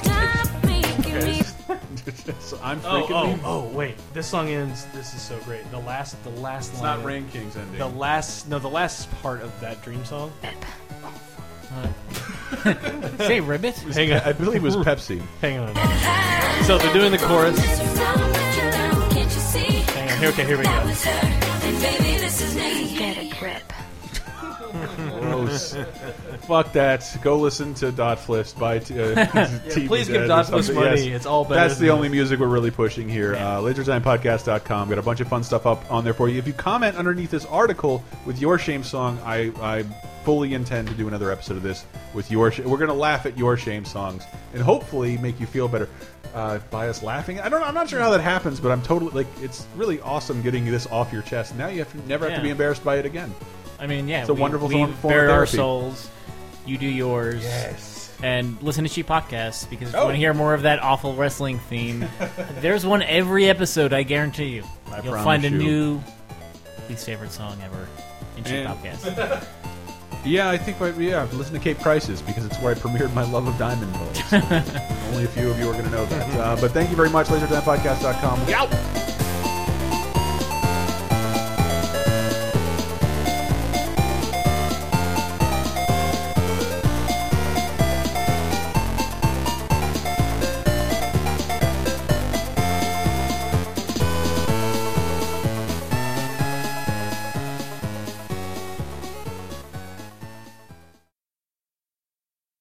Speaker 3: so I'm
Speaker 5: Oh,
Speaker 3: freaking.
Speaker 5: oh, oh, wait. This song ends. This is so great. The last, the last
Speaker 3: It's
Speaker 5: line.
Speaker 3: not Rain King's ending.
Speaker 5: the last, no, the last part of that dream song.
Speaker 4: Say ribbit.
Speaker 5: Hang on,
Speaker 3: I believe it was Pepsi.
Speaker 5: hang on. So they're doing the chorus. Hang on. Here, okay, here we go.
Speaker 3: Gross. Fuck that. Go listen to Dotflist by t- uh, TV
Speaker 5: please give
Speaker 3: Dead or
Speaker 5: Dotflist
Speaker 3: something.
Speaker 5: money. It's all better
Speaker 3: That's the
Speaker 5: than-
Speaker 3: only music we're really pushing here. Uh, LaserTimePodcast.com. Got a bunch of fun stuff up on there for you. If you comment underneath this article with your shame song, I, I fully intend to do another episode of this with your. Sh we're gonna laugh at your shame songs and hopefully make you feel better. Uh, by us laughing, I don't. I'm not sure how that happens, but I'm totally like it's really awesome getting this off your chest. Now you have to never have to
Speaker 4: Yeah.
Speaker 3: be embarrassed by it again.
Speaker 4: I mean, yeah,
Speaker 3: It's a
Speaker 4: we-
Speaker 3: wonderful
Speaker 4: we
Speaker 3: form- form of
Speaker 4: bury our
Speaker 3: therapy.
Speaker 4: souls. You do yours. Yes. And listen to cheap podcasts because if you want to hear more of that awful wrestling theme, there's one every episode. I guarantee you.
Speaker 3: I
Speaker 4: You'll
Speaker 3: promise
Speaker 4: find a
Speaker 3: you.
Speaker 4: new least favorite song ever in cheap
Speaker 3: And-
Speaker 4: podcasts.
Speaker 3: Yeah, I think. I, yeah, listen to Cape Crisis because it's where I premiered my love of diamond balls. Only a few of you are going to know that. Uh, but thank you very much, LaserTimePodcast.com. We out.